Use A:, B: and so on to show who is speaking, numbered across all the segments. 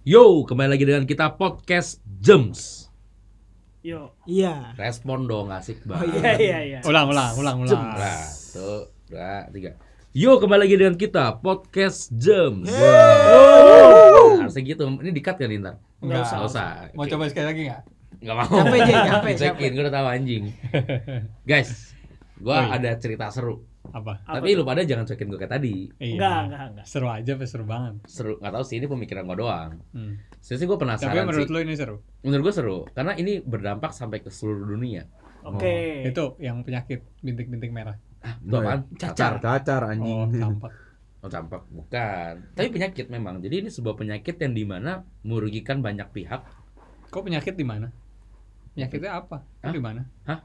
A: Yo, kembali lagi dengan kita podcast Jems.
B: Yo.
C: Iya.
A: Respon dong, asik banget.
B: Iya iya iya.
D: Ulang, ulang, ulang, ulang.
A: Nah, tuh, dua, tiga. Yo, kembali lagi dengan kita podcast Jems. Wow. Harusnya gitu. Ini dikat kan ntar?
B: Nggak usah.
A: Nggak usah.
D: Mau
A: Oke.
D: coba sekali lagi nggak?
A: Nggak mau.
C: Capek, Jay, capek,
A: Dicekin, gue udah tahu anjing. Guys,
D: Oh,
A: gua
D: iya.
A: ada cerita seru.
D: Apa?
B: Apa
A: Tapi
B: tuh?
A: lu pada jangan cuekin gue kayak tadi.
D: Iya.
B: Enggak, enggak, enggak.
D: Seru aja, apa seru banget.
A: Seru, nggak tahu sih ini pemikiran gue doang.
D: Hmm.
A: Sebenarnya gue penasaran
D: Tapi menurut
A: sih.
D: lu ini seru.
A: Menurut gue seru, karena ini berdampak sampai ke seluruh dunia.
E: Oh.
B: Oke.
D: Itu yang penyakit bintik-bintik merah.
A: Ah, itu apaan? Cacar.
E: Cacar
D: Oh,
E: anjing.
D: tampak.
A: Oh, campak bukan. Tapi penyakit memang. Jadi ini sebuah penyakit yang dimana merugikan banyak pihak.
D: Kok penyakit di mana? Penyakitnya apa?
A: Hah?
D: Itu Di mana?
A: Hah,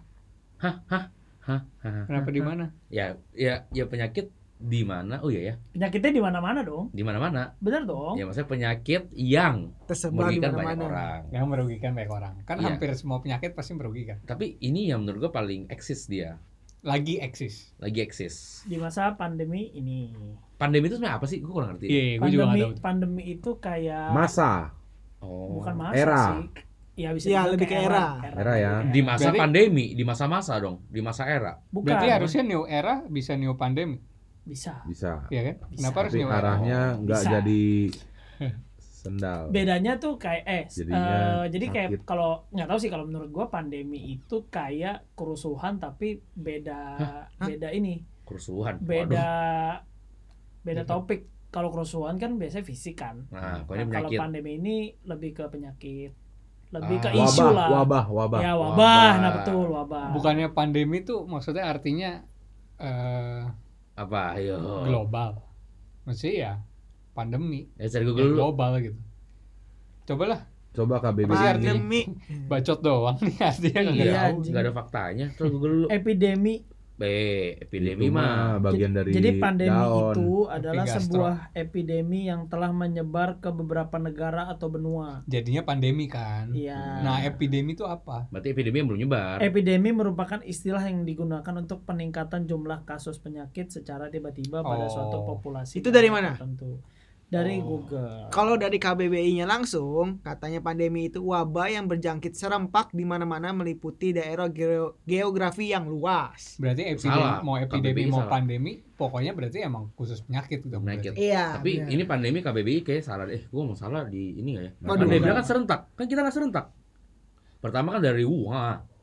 A: hah, hah, hah.
D: Kenapa di mana?
A: Ya, ya, ya penyakit di mana? Oh iya ya,
B: Penyakitnya di mana-mana dong.
A: di mana-mana.
B: Bener dong.
E: Iya.
A: Ya maksudnya penyakit yang
C: Tersebar di
A: merugikan banyak
C: mana-mana.
A: orang.
D: Yang merugikan banyak orang. Kan
A: Iya.
D: hampir semua penyakit pasti merugikan.
A: Tapi ini yang menurut gue paling eksis dia,
D: Lagi eksis.
A: lagi eksis.
B: Di masa pandemi ini.
A: Pandemi itu sebenarnya apa sih? Gue kurang ngerti.
D: Iya, gue juga nggak
B: Pandemi
D: tahu.
B: pandemi itu kayak
E: Masa
A: Oh.
B: bukan masa
E: Era.
B: sih. Ya bisa
C: Iya,
B: dibilang
C: lebih
B: kayak
C: ke
E: Era ya.
A: Di masa
D: Berarti-
A: pandemi, di masa-masa dong, di masa era.
B: Bukan.
D: Berarti harusnya new era bisa new pandemi,
B: bisa.
E: bisa.
D: ya kan?
B: Bisa.
D: Kenapa harus
E: Tapi
D: new era?
E: arahnya nggak
B: Bisa.
E: jadi sendal.
B: bedanya tuh kayak eh s- eh,
E: Jadinya
B: jadi kayak
E: sakit.
B: kalau nggak tahu sih kalau menurut gua pandemi itu kayak kerusuhan tapi beda beda ini
A: Kerusuhan.
B: beda
A: Waduh.
B: beda
D: Beda.
B: topik kalau kerusuhan kan biasanya fisik kan
A: Nah, kalau ini
B: Nah, kalau
A: penyakit.
B: pandemi ini lebih ke penyakit lebih ke
A: Ah.
B: isu
E: Wabah,
B: lah
E: wabah, wabah.
B: ya wabah, nah betul wabah
D: Bukannya pandemi tuh maksudnya artinya eh
A: Apa? Ayo.
D: global. Maksudnya ya pandemi
A: Ya cari
D: ya
A: Google dulu.
D: global gitu. Cobalah
E: Coba KBBI ini.
C: Pandemi.
D: bacot doang nih artinya nggak
A: Iya,
D: tahu.
B: anjing. Eh,
A: nggak ada faktanya. Coba Google dulu.
B: epidemi
A: B, epidemi mah.
E: bagian
B: Jadi-
E: dari
B: jadi pandemi
E: daun.
B: itu adalah
D: gastro.
B: sebuah epidemi yang telah menyebar ke beberapa negara atau benua
D: Jadinya pandemi kan.
B: iya
D: Nah, epidemi itu apa?
A: Berarti epidemi yang belum nyebar.
B: Epidemi merupakan istilah yang digunakan untuk peningkatan jumlah kasus penyakit secara tiba-tiba pada
D: Oh.
B: suatu populasi.
C: Itu dari mana?
B: Tentu. Dari
D: Oh.
B: Google.
C: Kalau dari KBBI-nya langsung, katanya pandemi itu wabah yang berjangkit serempak di mana-mana meliputi daerah geo- geografi yang luas.
D: Berarti epidemi
A: Salah.
D: mau epidemi
A: KBBI
D: mau
A: salah.
D: pandemi, pokoknya berarti emang khusus penyakit gitu.
A: Penyakit.
D: berarti.
C: Iya.
A: ya. Tapi
C: benar.
A: ini pandemi KBBI kayak salah eh gua mau salah di ini nggak ya?
C: Waduh.
A: Pandemi bilang kan serentak. Kan kita nggak serentak. Pertama kan dari Wuhan.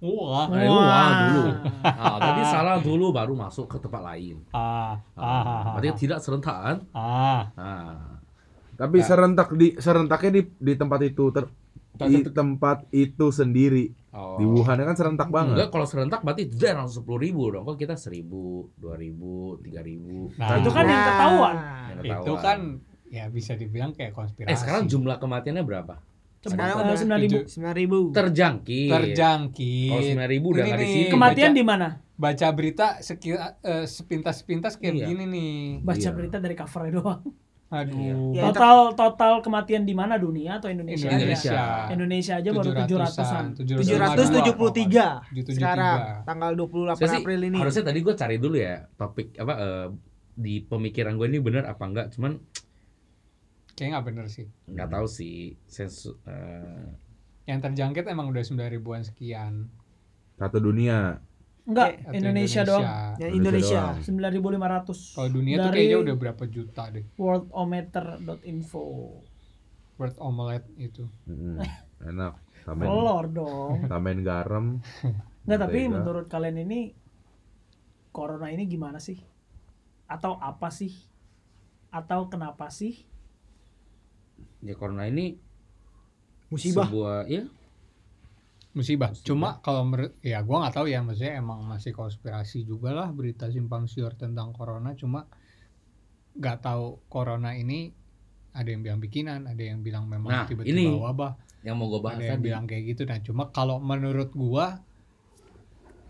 D: Wah.
A: Dari Wuhan dulu.
B: Wah.
A: Nah, tadi salah dulu baru masuk ke tempat lain.
D: Ah, ah, ah, ah,
A: Nah, berarti tidak serentak kan?
D: ah.
A: Nah,
E: Tapi
A: Nah.
E: serentak di serentaknya di di tempat itu ter- di tempat itu sendiri.
A: oh.
E: Di Wuhan kan serentak
B: Hmm.
E: banget.
A: Enggak, kalau serentak berarti dia langsung sepuluh ribu dong. Kok kita seribu, dua ribu, tiga ribu.
D: Nah,
B: Itu kan yang
C: Nah,
B: ketahuan.
D: itu kan ya bisa dibilang kayak konspirasi.
A: Eh sekarang jumlah kematiannya berapa?
C: Sekarang
B: Coba
C: udah
B: sembilan ribu.
D: tujuh.
C: 9.000.
A: Terjangkit. Kalau
D: terjangkit.
A: sembilan ribu udah
D: Ini
A: nggak di
D: nih,
A: sini.
B: Kematian di mana?
D: Baca berita sekira, eh, sepintas-sepintas kayak
A: Iya.
D: gini nih.
B: Baca
E: Iya.
B: berita dari covernya doang.
D: Aduh.
C: Iya. Ya,
B: Total total kematian di mana dunia atau Indonesia? aja?
A: Indonesia.
B: Indonesia aja baru
D: 700-an,
B: 700-an.
C: 773
D: 773.
C: sekarang tanggal 28
A: Saya sih,
C: April ini.
A: Harusnya tadi gue cari dulu ya topik apa eh, di pemikiran gue ini benar apa enggak? Cuman
D: Kayaknya nggak bener sih.
A: nggak tahu sih sensu eh,
D: Yang terjangkit emang udah 9 ribuan sekian.
E: Satu dunia.
B: Enggak,
D: Eh, Atau
B: Indonesia, doang.
C: Ya, Indonesia.
E: doang.
B: 9500.
D: Kalau dunia tuh
B: Dari
D: kayaknya udah berapa juta deh.
B: worldometer.info.
D: World omelette itu.
E: Mm-mm. Enak. Tambahin,
B: Telur dong.
E: tambahin garam.
B: Nggak, tapi
E: mentega.
B: menurut kalian ini corona ini gimana sih? Atau apa sih? Atau kenapa sih?
A: ya corona ini
C: Musibah.
A: sebuah ya
D: Musibah.
A: Musibah.
D: Cuma kalau menurut ya gua nggak tahu ya maksudnya emang masih konspirasi juga lah berita simpang siur tentang corona cuma nggak tahu corona ini ada yang bilang bikinan, ada yang bilang
A: Nah,
D: memang tiba-tiba
A: ini.
D: wabah,
A: yang mau gue bahas
D: ada
A: tadi.
D: yang bilang kayak gitu. Nah, cuma kalau menurut gua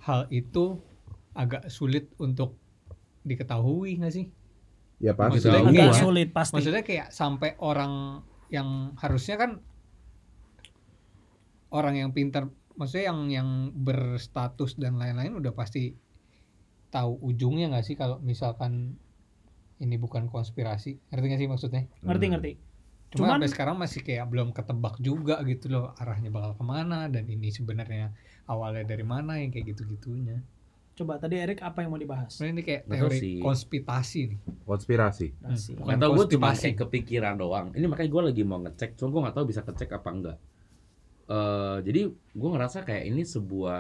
D: hal itu agak sulit untuk diketahui nggak sih?
E: Ya pasti.
D: Maksudnya
E: tahu
D: nggak
B: Agak
E: lah.
D: ya.
B: sulit pasti.
D: Maksudnya kayak sampai orang yang harusnya kan orang yang pintar, maksudnya yang yang berstatus dan lain-lain udah pasti tahu ujungnya nggak sih kalau misalkan ini bukan konspirasi, ngerti nggak sih maksudnya?
E: Hmm.
B: ngerti ngerti.
D: Cuma
B: Cuman-
D: sampai sekarang masih kayak belum ketebak juga gitu loh arahnya bakal kemana dan ini sebenarnya awalnya dari mana yang kayak gitu-gitunya.
B: Coba tadi Erik apa yang mau dibahas?
D: Sebenarnya ini kayak
A: Nggak tahu
D: teori
A: sih.
D: konspirasi nih.
E: Mm. konspirasi.
D: Hmm,
B: Rasi.
D: bukan
A: Gak tau gue cuma
D: konspirasi.
A: kayak kepikiran doang. Ini makanya gue lagi mau ngecek, cuma gue gak tahu bisa ngecek apa enggak. Eh, jadi gue ngerasa kayak ini sebuah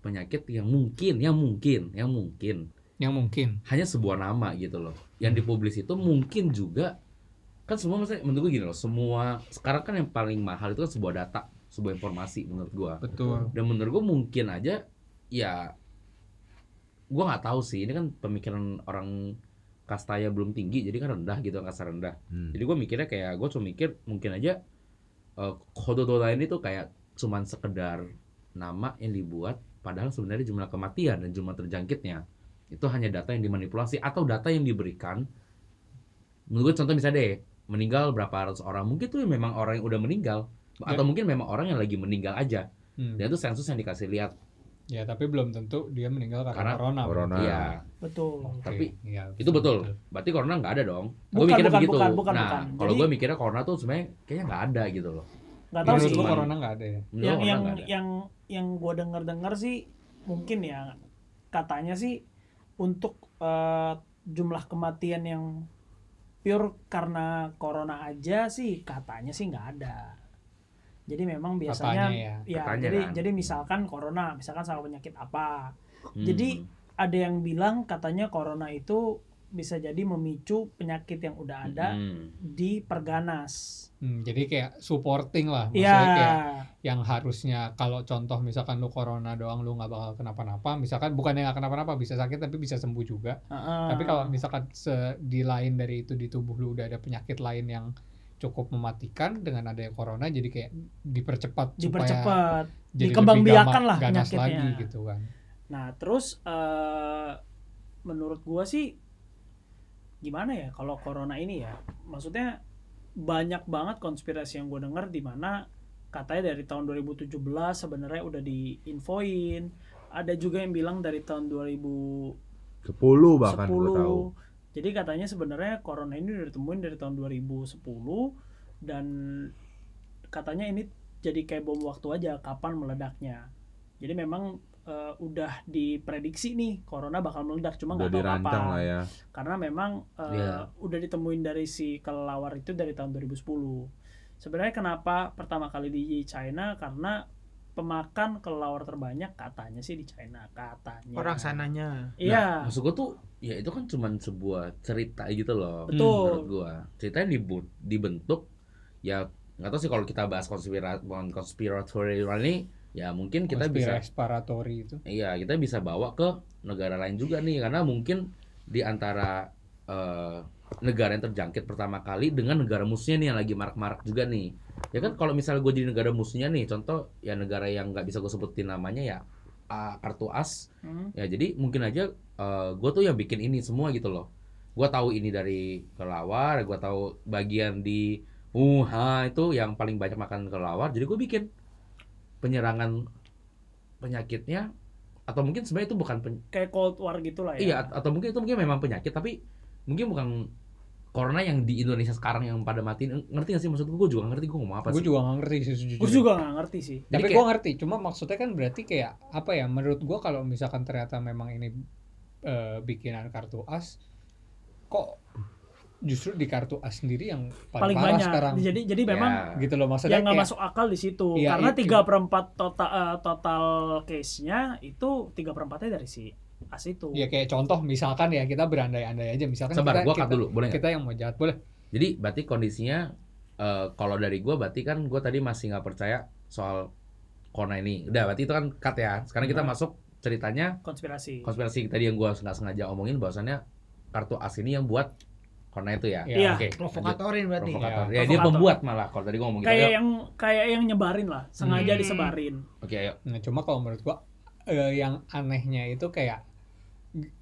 A: penyakit yang mungkin, yang mungkin, yang mungkin
D: yang mungkin.
A: hanya sebuah nama gitu loh. Yang dipublis itu mungkin juga kan semua maksudnya menurut gue gini loh, semua sekarang kan yang paling mahal itu kan sebuah data, sebuah informasi menurut gue.
D: Betul.
A: Dan menurut gue mungkin aja ya gue nggak tahu sih ini kan pemikiran orang kastanya belum tinggi jadi kan rendah gitu kasar rendah
E: Hmm.
A: jadi gue mikirnya kayak gue cuma mikir mungkin aja eh kododo lain itu kayak cuman sekedar nama yang dibuat padahal sebenarnya jumlah kematian dan jumlah terjangkitnya itu hanya data yang dimanipulasi atau data yang diberikan menurut gue contoh misalnya deh meninggal berapa ratus orang mungkin tuh memang orang yang udah meninggal atau
B: Iya.
A: mungkin memang orang yang lagi meninggal aja
D: Hmm.
A: dan itu sensus yang dikasih lihat
D: Ya, tapi belum tentu dia meninggal
A: Karena
D: karena, corona.
E: corona. Nah.
A: iya
B: Betul.
D: Oke,
A: Tapi,
D: iya,
A: itu betul. Berarti corona nggak ada dong. Gue
B: Bukan,
A: mikirnya
B: bukan,
A: begitu.
B: bukan, bukan,
A: nah,
B: bukan.
A: kalau
B: Jadi-
A: gue mikirnya corona tuh sebenarnya kayaknya nggak ada gitu loh.
B: Nggak tahu sih.
D: Menurut lu
A: Cuman-
D: corona nggak ada ya?
A: Menurut
B: yang
A: gua corona
B: yang
A: nggak ada.
B: yang yang gue dengar dengar sih mungkin ya katanya sih untuk eh, jumlah kematian yang pure karena corona aja sih katanya sih nggak ada jadi memang biasanya
D: Katanya
A: ya. Katanya
B: jadi
A: kan.
B: jadi misalkan corona misalkan sama penyakit apa
A: Hmm.
B: jadi- ada yang bilang katanya corona itu bisa jadi memicu penyakit yang udah ada
A: Hmm.
B: di perganas
D: Hmm, jadi kayak supporting lah, maksudnya kayak
B: Iya,
D: yang harusnya kalau contoh misalkan lu corona doang lu nggak bakal kenapa-napa, misalkan bukan yang nggak kenapa-napa bisa sakit tapi bisa sembuh juga.
B: Heeh.
D: Tapi kalau misalkan se- di lain dari itu di tubuh lu udah ada penyakit lain yang cukup mematikan dengan adanya corona jadi kayak dipercepat, supaya
B: dipercepat
D: jadi lebih
B: dikembangbiakan
D: gama-
B: lah
D: ganas
B: penyakitnya.
D: lagi gitu kan.
B: Nah, terus eh menurut gua sih gimana ya kalau corona ini ya? Maksudnya banyak banget konspirasi yang gua dengar di mana katanya dari tahun 2017 sebenarnya udah diinfoin. Ada juga yang bilang dari tahun 2010
E: Sepuluh bahkan gue tahu.
B: Jadi katanya sebenarnya corona ini udah ditemuin dari tahun 2010 dan katanya ini jadi kayak bom waktu aja kapan meledaknya. Jadi memang eh, udah diprediksi nih corona bakal meledak cuma
E: Udah
B: nggak tahu
E: dirancang
B: kapan.
E: lah ya.
B: Karena memang eh,
A: Iya.
B: udah ditemuin dari si kelelawar itu dari tahun 2010. Sebenarnya kenapa pertama kali di China karena pemakan kelelawar terbanyak katanya sih di China katanya.
C: orang sananya
A: Nah,
B: Iya,
A: maksud gue tuh ya itu kan cuman sebuah cerita gitu loh. Menurut
B: betul.
A: gue ceritanya dibu- dibentuk ya nggak tahu sih kalau kita bahas konspirasi konspiratori ini ya mungkin kita bisa
D: Konspirasi itu.
A: Iya, kita bisa bawa ke negara lain juga nih karena mungkin di antara eh, negara yang terjangkit pertama kali dengan negara musuhnya nih yang lagi marak-marak juga nih. Ya kan kalau misalnya gue jadi negara musuhnya nih, contoh ya negara yang nggak bisa gue sebutin namanya ya A- kartu as.
B: Hmm.
A: Ya jadi mungkin aja gue tuh yang bikin ini semua gitu loh. Gue tahu ini dari kelawar, gue tahu bagian di Wuhan itu yang paling banyak makan kelawar, jadi gue bikin penyerangan penyakitnya atau mungkin sebenarnya itu bukan pen-
B: Kayak Cold War gitulah ya.
A: iya at- atau mungkin itu mungkin memang penyakit tapi mungkin bukan corona yang di Indonesia sekarang yang pada mati ngerti gak sih maksud gue gue juga nggak ngerti gue ngomong apa
D: Gue
A: sih
D: juga nggak ngerti sih sejujurnya.
B: Gue juga nggak ngerti sih.
A: Jadi
D: Tapi
A: kayak-
D: gue ngerti, cuma maksudnya kan berarti kayak apa ya? Menurut gue kalau misalkan ternyata memang ini eh, bikinan kartu as, kok justru di kartu as sendiri yang paling,
B: Paling
D: parah
B: banyak.
D: sekarang,
B: Jadi jadi
A: Ya.
B: memang
D: gitu loh maksudnya
B: yang nggak
D: kayak
B: masuk akal di situ
D: Iya,
B: karena
D: itu.
B: tiga perempat total eh, total case-nya itu tiga perempatnya dari si as itu.
D: ya kayak contoh misalkan ya kita berandai-andai aja misalkan
A: sabar
D: kita
A: gue cut
D: kita,
A: dulu Iya. boleh nggak?
D: kita yang mau ya, jahat boleh.
A: jadi berarti kondisinya eh, kalau dari gue berarti kan gue tadi masih nggak percaya soal corona ini udah berarti itu kan cut ya sekarang kita
B: Hmm.
A: masuk ceritanya
B: Konspirasi.
A: konspirasi tadi yang gue nggak sengaja omongin bahwasannya kartu as ini yang buat corona itu ya
B: Iya.
A: oke lanjut.
C: provokatorin berarti
A: provokator
D: Iya.
A: ya, dia
B: Provokator.
A: pembuat malah kalau tadi gue ngomong gitu
B: kayak
A: Ayo,
B: yang kayak yang nyebarin lah, sengaja
C: Hmm.
B: disebarin.
A: oke ayo
B: Hmm.
D: Nah, cuma kalau menurut gua eh, yang anehnya itu kayak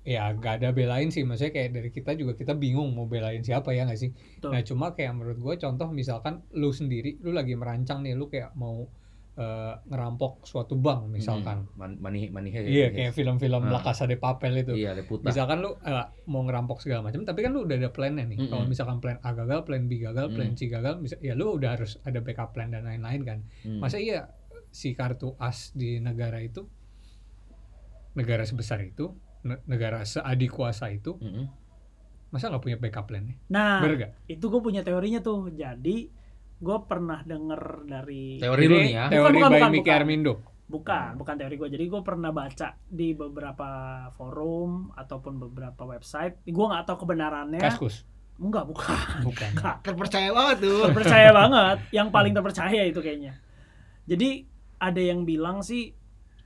D: ya gak ada belain sih maksudnya kayak dari kita juga kita bingung mau belain siapa ya nggak sih
B: Betul.
D: nah cuma kayak menurut gua contoh misalkan lu sendiri lu lagi merancang nih lu kayak mau eh, ngerampok suatu bank misalkan.
A: Hmm, man- money money heist.
D: Iya, kayak film-film
A: Ah.
D: La Casa de Papel itu.
A: Iya, Reputa.
D: Misalkan lu eh, mau ngerampok segala macam, tapi kan lu udah ada plannya nih.
A: Mm-mm.
D: Kalau misalkan plan A gagal, plan B gagal,
A: Mm.
D: plan C gagal, misa- ya lu udah harus ada backup plan dan lain-lain kan.
A: Hmm.
D: Masa iya si kartu as di negara itu, negara sebesar itu, ne- negara seadikuasa itu,
A: Mm-mm.
D: masa nggak punya backup plan-nya?
B: Nah,
D: Bener nggak?
B: itu gue punya teorinya tuh. Jadi gue pernah denger dari
A: Teori lu nih ya.
D: Ini Teori
B: Bukan, bukan,
D: by
B: bukan,
D: Miki
B: bukan.
D: Armindo.
B: bukan bukan teori gue. Jadi gue pernah baca di beberapa forum ataupun beberapa website. Gue nggak tahu kebenarannya.
D: Kaskus.
B: Enggak, bukan.
D: Bukan.
C: Terpercaya banget tuh.
B: terpercaya banget yang paling terpercaya itu kayaknya jadi ada yang bilang sih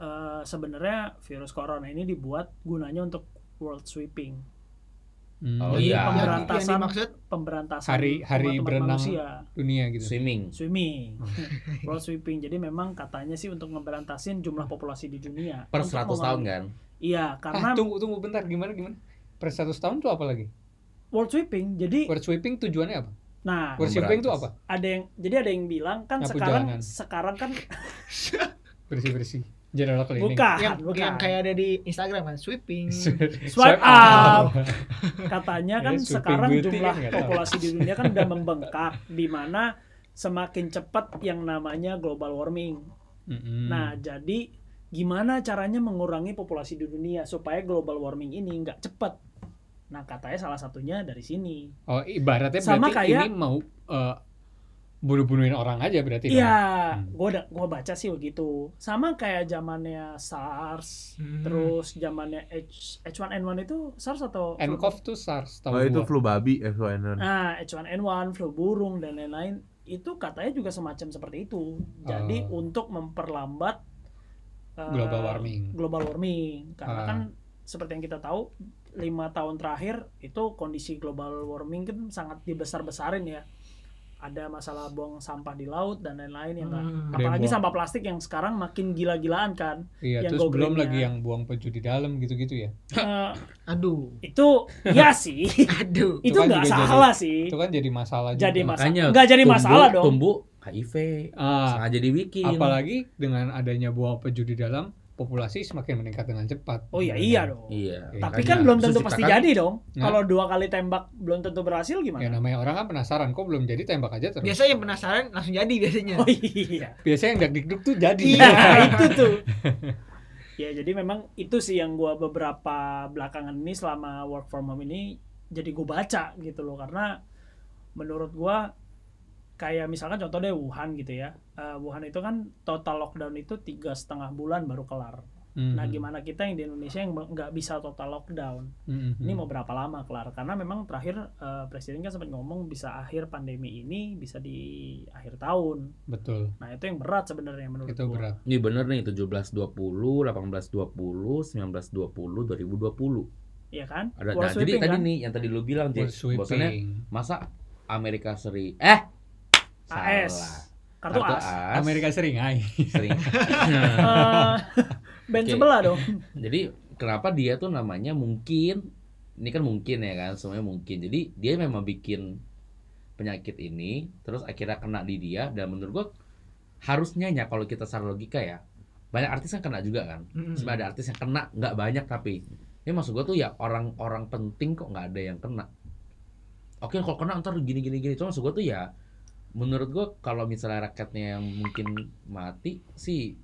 B: eh, sebenarnya virus corona ini dibuat gunanya untuk world sweeping
D: Hmm.
A: Oh,
B: Jadi
A: iya.
C: Yang, yang
B: pemberantasan
C: dimaksud
B: pemberantasan
D: Hari-
B: umat-umat
D: hari berenang. Oh.
B: manusia.
D: Dunia gitu.
A: Swimming.
B: swimming world sweeping jadi memang katanya sih untuk ngeberantasin jumlah populasi di dunia
A: Per
B: Untuk
A: 100 tahun
B: memang-
A: kan?
B: iya
D: Ah,
B: karena
D: tunggu tunggu bentar gimana gimana? Per 100 tahun tuh apa lagi?
B: world sweeping jadi
D: Word sweeping tujuannya apa?
B: nah
D: Word sweeping itu
A: Memberantas.
D: apa?
B: ada yang jadi ada yang bilang kan
D: Nyapu
B: sekarang
D: jalanan.
B: sekarang kan
D: Bersih-bersih. General cleaning.
B: bukan
C: yang,
B: bukan
C: yang kayak ada di Instagram kan,
D: Hmm.
C: sweeping.
B: Swipe up. katanya
D: Iya,
B: kan
D: sweeping
B: sekarang
D: beauty
B: jumlah
D: kan nggak tahu.
B: populasi di dunia kan udah membengkak di mana semakin cepat yang namanya global warming.
D: Mm-mm.
B: Nah, jadi gimana caranya mengurangi populasi di dunia supaya global warming ini nggak cepat? Nah, katanya salah satunya dari sini.
D: Oh, ibaratnya
B: Sama
D: berarti
B: kayak-
D: ini mau eh, bunuh-bunuhin orang aja berarti. dong?
B: Iya,
D: Hmm.
B: gua udah gua baca sih begitu. Sama kayak zamannya SARS,
C: Hmm.
B: terus zamannya H, H1N1 itu SARS atau flu-
D: Enkov tuh SARS tahu
E: Oh,
D: gua.
E: itu flu babi
D: Hmm.
E: FYN.
B: Nah, H1N1, flu burung dan lain-lain itu katanya juga semacam seperti itu. Jadi
D: Oh.
B: untuk memperlambat uh,
D: Global warming.
B: Global warming karena
D: Ah.
B: kan seperti yang kita tahu lima tahun terakhir itu kondisi global warming kan sangat dibesar-besarin ya. Ada masalah buang sampah di laut dan lain-lain yang nggak-
C: Hmm.
D: Ada yang
B: apalagi
D: buang-
B: sampah plastik yang sekarang makin gila-gilaan kan.
D: Iya,
B: yang ya.
D: terus belum
B: goblinnya.
D: lagi yang buang peju di dalam gitu-gitu ya.
B: Eh,
C: Aduh,
B: itu ya sih.
C: aduh.
B: itu
D: kan
B: nggak
D: juga jadi-
B: salah sih.
D: Itu kan jadi masalah
B: Jadi
D: juga.
B: masalah.
A: Makanya
B: nggak jadi
A: tumbuh-
B: masalah dong. Nah,
A: Tumbuh HIV
D: Ah,
A: sengaja dibikin.
B: Iya.
D: apalagi dengan adanya buang peju di dalam, populasi semakin meningkat dengan cepat.
B: Oh iya iya dong.
A: Iya.
D: Iya.
B: Tapi
A: makanya
B: kan belum
A: terus
B: tentu pasti
A: diciptakan-
B: jadi dong.
D: Nah.
B: Kalau dua kali tembak belum tentu berhasil
D: Ya
B: gimana?
D: namanya orang kan penasaran, kok belum jadi tembak aja terus.
C: Biasanya yang penasaran langsung jadi biasanya.
B: Oh iya.
D: Biasanya yang dagdikduk tuh jadi.
B: Iya, itu tuh. Ya jadi memang itu sih yang gua beberapa belakangan ini selama work from home ini jadi gua baca gitu loh karena menurut gua kayak misalkan contoh deh Wuhan gitu ya. Eh, Wuhan itu kan total lockdown itu tiga setengah bulan baru kelar.
D: Mhm.
B: Nah gimana kita yang di Indonesia yang nggak bisa total lockdown?
D: Mhm.
B: ini
A: Hmm.
B: mau berapa lama kelar karena memang terakhir eh, presiden kan sempat ngomong bisa akhir pandemi ini bisa di akhir tahun
D: betul.
B: nah itu yang berat sebenarnya menurut
D: Itu
B: gua.
D: berat.
A: Ini bener nih 1720, 1820, 1920, 2020.
B: Iya kan
A: Ada nah, jadi
B: World sweeping
A: tadi
B: kan?
A: nih yang tadi lu bilang Jay,
D: World
A: bahwasannya
D: sweeping.
A: masa Amerika Seri eh
B: AS
A: salah.
B: kartu as
D: Amerika seringai.
A: sering.
B: Eh, band
A: Oke.
B: sebelah dong
A: Jadi kenapa dia tuh namanya mungkin ini kan mungkin ya kan semuanya mungkin. Jadi dia memang bikin penyakit ini terus akhirnya kena di dia dan menurut gua harusnya ya kalau kita secara logika ya banyak artis yang kena juga kan.
C: Mm-mm.
D: Hmm.
A: Sebenarnya ada artis yang kena nggak banyak tapi ini maksud gua tuh ya orang-orang penting kok nggak ada yang kena. Oke kalau kena ntar gini gini gini cuma maksud gua tuh ya menurut gua kalau misalnya rakyatnya yang mungkin mati sih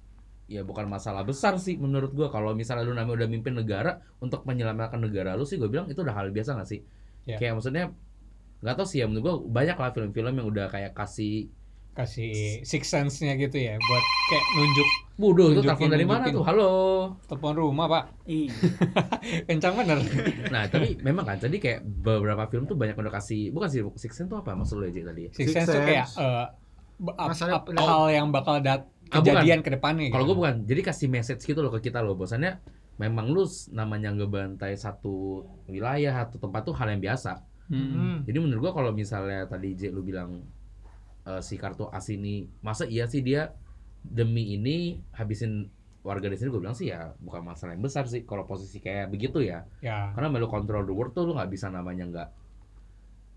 A: ya bukan masalah besar sih menurut gua kalau misalnya lu namanya udah mimpin negara untuk menyelamatkan negara lu sih gue bilang itu udah hal biasa gak sih
D: Ya.
A: kayak maksudnya nggak tau sih ya menurut gua banyak lah film-film yang udah kayak kasih
D: Kasih six sense-nya gitu ya buat kayak nunjuk
A: Waduh itu
D: Nunjukin,
A: telepon dari mana
D: nunjukin.
A: tuh halo
D: telepon rumah, Pak.
B: Ih,
D: Kencang bener.
A: nah tapi memang kan jadi kayak beberapa film tuh banyak udah kasih bukan sih six sense tuh apa maksud lu ya Ji, tadi ya?
D: Six
E: Sixth
D: sense tuh
E: sense.
D: kayak eh, b- ap-
C: Masalah
D: ap- hal yang bakal dat
A: Ah, bukan.
D: kejadian ke depannya. gitu.
A: Kalau gue bukan, jadi kasih message gitu loh ke kita loh, bosannya memang lu s- namanya ngebantai satu wilayah atau tempat tuh hal yang biasa.
C: Hmm.
A: Jadi menurut gua kalau misalnya tadi J lu bilang eh, si kartu as ini, masa iya sih dia demi ini habisin warga di sini gue bilang sih ya bukan masalah yang besar sih kalau posisi kayak begitu ya
D: Ya.
A: karena melu control the world tuh lu nggak bisa namanya nggak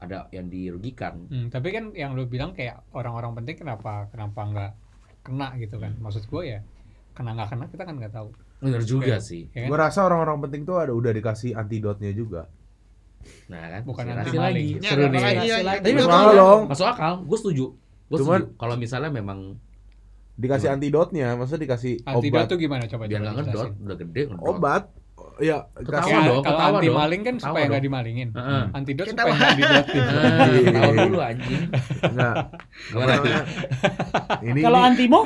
A: ada yang dirugikan
D: Hmm, tapi kan yang lu bilang kayak orang-orang penting kenapa kenapa nggak kena gitu kan maksud gue ya kena nggak kena kita kan nggak tahu
A: Bener juga sih.
D: ya kan?
E: Gue rasa orang-orang penting tuh ada udah dikasih antidotnya juga.
A: Nah kan,
D: Bukan
A: konspirasi lagi.
D: anti maling.
A: Seru
C: Ya,
A: nih.
C: apalagi-
E: Tapi
C: Iya,
E: masuk
C: kan?
E: akal dong.
A: Masuk akal, gue setuju. Gue
E: Cuman-
A: setuju. Kalau misalnya memang
E: Dikasih antidotnya, maksudnya dikasih
D: antidot
E: obat.
D: tuh gimana coba
A: biar
D: coba
A: nggak
D: jelasin.
A: ngedot, udah gede ngedot.
E: Obat. Ya,
A: Ketawa
E: kasih-
D: Kayak
A: dong,
D: kalau
A: ketawa
D: anti
A: dong.
D: maling kan supaya
A: Ketawa
D: nggak dimalingin
A: Heeh.
D: antidot
C: Ketawa.
D: supaya nggak didotin
A: Ah, Ketawa dulu anjing.
E: Nah,
A: Gimana?
E: Iya. namanya? ini
B: Kalau antimo,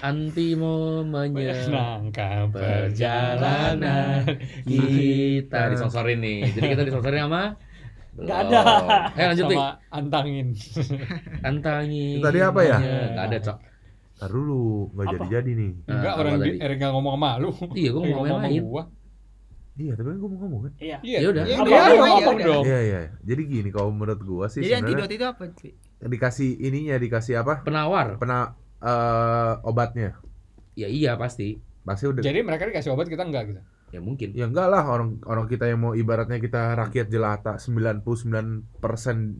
A: Anti mau
D: Nah.
A: menyerang
D: Menyenangkan
A: Iya. perjalanan
D: perjalanan
A: kita disensorin nih. Jadi kita disensorin sama
B: Nggak ada.
A: Belum. Eh lanjut nih.
D: sama antangin
A: Antangi.
E: Itu tadi apa ya?
A: Gak Iya, ada cok.
E: Ntar dulu, nggak
B: Apa?
E: jadi-jadi nih.
D: enggak
A: apa
D: orang
A: tadi?
D: di Eren nggak ngomong sama lu
A: Iya, gue mau
D: Eren
A: ngomong yang
D: sama
A: lain.
D: gua.
E: Iya, tapi kan gue mau ngomong kan.
B: iya.
D: iya
A: Ya udah.
D: iya
C: Apa-
D: iya,
C: apa-
D: iya,
C: apa-
D: ngomong
C: iya,
D: dong
E: Iya, iya. Jadi gini, kalau menurut gue sih
C: Jadi
E: sebenarnya
C: antidot itu apa? Ci?
E: dikasih ininya, dikasih apa?
A: Penawar.
E: Pena eh, obatnya.
A: Ya iya pasti.
E: Pasti udah.
D: jadi mereka dikasih obat kita enggak gitu
A: Ya mungkin.
E: Ya enggak lah orang orang kita yang mau ibaratnya kita rakyat jelata 99%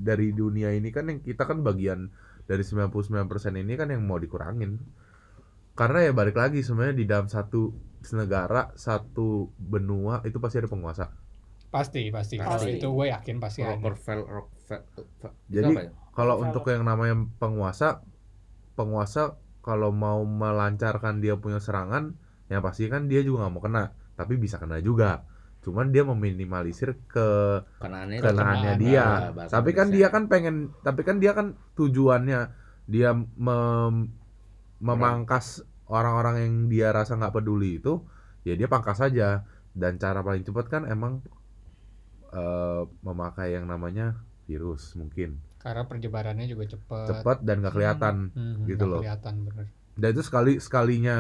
E: dari dunia ini kan yang kita kan bagian dari 99% ini kan yang mau dikurangin. Karena ya balik lagi sebenarnya di dalam satu negara, satu benua itu pasti ada penguasa.
D: pasti pasti kalau
A: Pasti.
D: itu gue yakin pasti ada
A: Rockefeller, Rockefeller.
E: Jadi
A: apa ya?
E: kalau untuk yang namanya penguasa penguasa kalau mau melancarkan dia punya serangan yang pasti kan dia juga nggak mau kena tapi bisa kena juga cuman dia meminimalisir ke
A: Kenaannya
E: kenaannya dia tapi kan dia kan pengen tapi kan dia kan tujuannya dia mem- memangkas orang-orang yang dia rasa nggak peduli itu ya dia pangkas saja dan cara paling cepat kan emang eh, memakai yang namanya virus mungkin
D: karena perjebarannya juga cepet,
E: cepat dan nggak kelihatan
D: Hmm,
E: gitu
D: nggak
E: loh.
D: kelihatan bener
E: Dan itu sekali sekalinya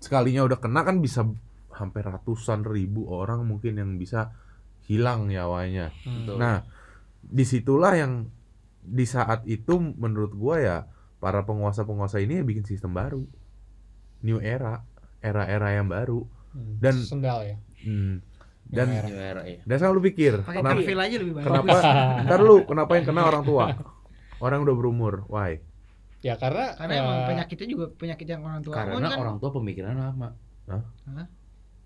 E: sekalinya udah kena kan bisa hampir ratusan ribu orang mungkin yang bisa hilang nyawanya.
D: Hmm.
A: Betul.
E: Nah, disitulah yang di saat itu menurut gua ya para penguasa-penguasa ini ya bikin sistem baru, new era, era-era yang baru.
D: Hmm.
E: dan-
D: sendal ya
E: Hmm. Dan
D: Merah.
E: dan selalu pikir,
C: Pakai
E: kenapa,
C: kerfil aja lebih bagus.
E: kenapa ntar lu kenapa yang kena orang tua? Orang udah berumur, why?
D: ya karena
C: Karena emang
D: eh,
C: penyakitnya juga penyakit yang orang tua
A: Karena
C: kan
A: orang tua pemikiran lama.
B: Hmm?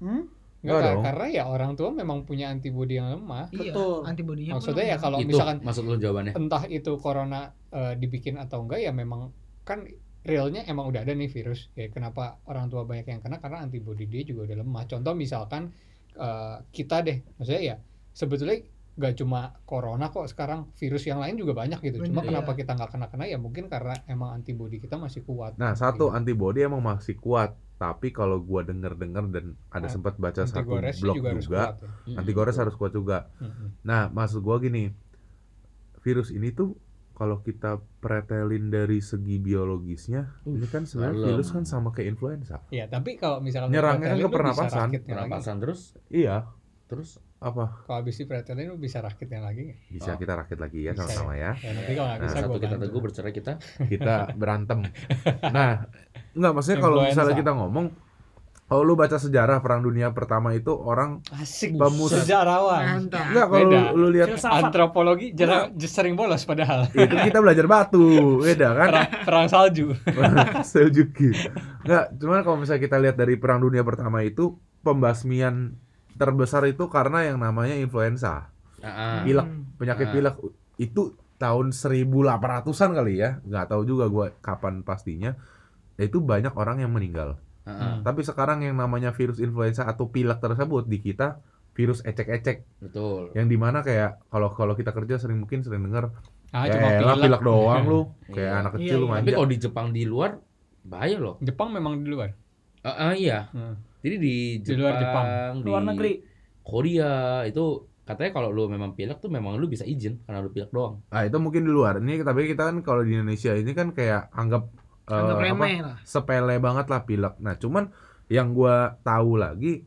D: Nggak,
E: Enggak
D: Kak.
E: dong.
D: karena ya orang tua memang punya antibodi yang lemah.
C: iya,
B: Betul.
C: antibodinya pun
D: Maksudnya ya
C: lemah.
D: kalau
A: itu
D: misalkan
A: maksud lu jawabannya.
D: entah itu corona eh, dibikin atau enggak ya memang kan realnya emang udah ada nih virus. Ya kenapa orang tua banyak yang kena karena antibodi dia juga udah lemah. Contoh misalkan eh, kita deh, maksudnya ya sebetulnya gak cuma corona kok sekarang virus yang lain juga banyak gitu. Cuma
C: Bener,
D: kenapa
C: iya.
D: kita nggak kena kena ya mungkin karena emang antibodi kita masih kuat. Iya.
E: Nah, satu antibody emang masih kuat, tapi kalau gua denger-denger dan
D: Ah,
E: ada sempat baca
D: Anti
E: satu
D: goresnya
E: blog
D: juga
E: juga,
D: harus kuat ya.
E: antigores harus kuat juga.
D: Mm-mm.
E: Nah, maksud gua gini. Virus ini tuh kalau kita pretelin dari segi biologisnya,
A: Uh,
E: ini kan sebenarnya
A: dalam.
E: virus kan sama kayak influenza.
D: Ya, tapi kalau misalkan
E: Nyerangnya
D: dipretelin,
E: kan ke
D: lu bisa
E: pernapasan.
D: rakitnya lagi.
A: Pernapasan terus
E: Iya,
A: terus
E: apa?
D: Kalau habis dipretelin lu bisa rakitnya lagi nggak?
E: Bisa
A: Oh.
E: kita rakit lagi ya
D: Bisa
E: sama-sama ya.
D: Ya, nanti kalau nggak
E: Nah,
D: bisa
A: satu
D: gue
A: kita teguh bercerai kita.
E: Kita berantem. Nah, enggak maksudnya kalau misalnya
D: Influenza.
E: kita ngomong kalau lu baca sejarah perang dunia pertama itu orang
D: Asik
E: Pemusat.
D: sejarawan.
C: mantap.
E: enggak kalau
D: Beda.
E: lu, lu lihat
B: Filsafat.
D: Antropologi jarang sering bolos padahal.
E: itu kita belajar batu beda kan
D: Perang, perang salju.
E: Seljuki nggak cuman kalau misalnya kita lihat dari perang dunia pertama itu pembasmian terbesar itu karena yang namanya influenza
A: Ah, ah.
E: Pilek.
C: Hmm.
E: penyakit
A: Ah.
E: pilek itu tahun 1800-an kali ya nggak tahu juga gua kapan pastinya itu banyak orang yang meninggal
A: Ah, ah.
E: tapi sekarang yang namanya virus influenza atau pilek tersebut di kita virus ecek-ecek
A: Betul.
E: yang dimana kayak kalau kalau kita kerja sering mungkin sering dengar
D: Ah,
E: ya elah, pilek doang lu kayak
A: Iya.
E: anak kecil
C: Iya,
E: lu
C: iya.
A: Tapi
E: manja
A: kalau di Jepang di luar bahaya loh.
D: Hmm. Jepang memang di luar.
A: Ah, ah, iya.
D: Hmm.
A: Jadi di Jepang,
D: Di luar Jepang.
A: di
B: Luar negeri.
A: Korea itu katanya kalau lu memang pilek tuh memang lu bisa izin karena lu pilek doang.
E: Ah itu mungkin di luar. Ini tapi kita kan kalau di Indonesia ini kan kayak anggap eh,
C: Anggap
E: apa,
C: remeh lah.
E: sepele banget lah pilek. Nah, cuman yang gua tahu lagi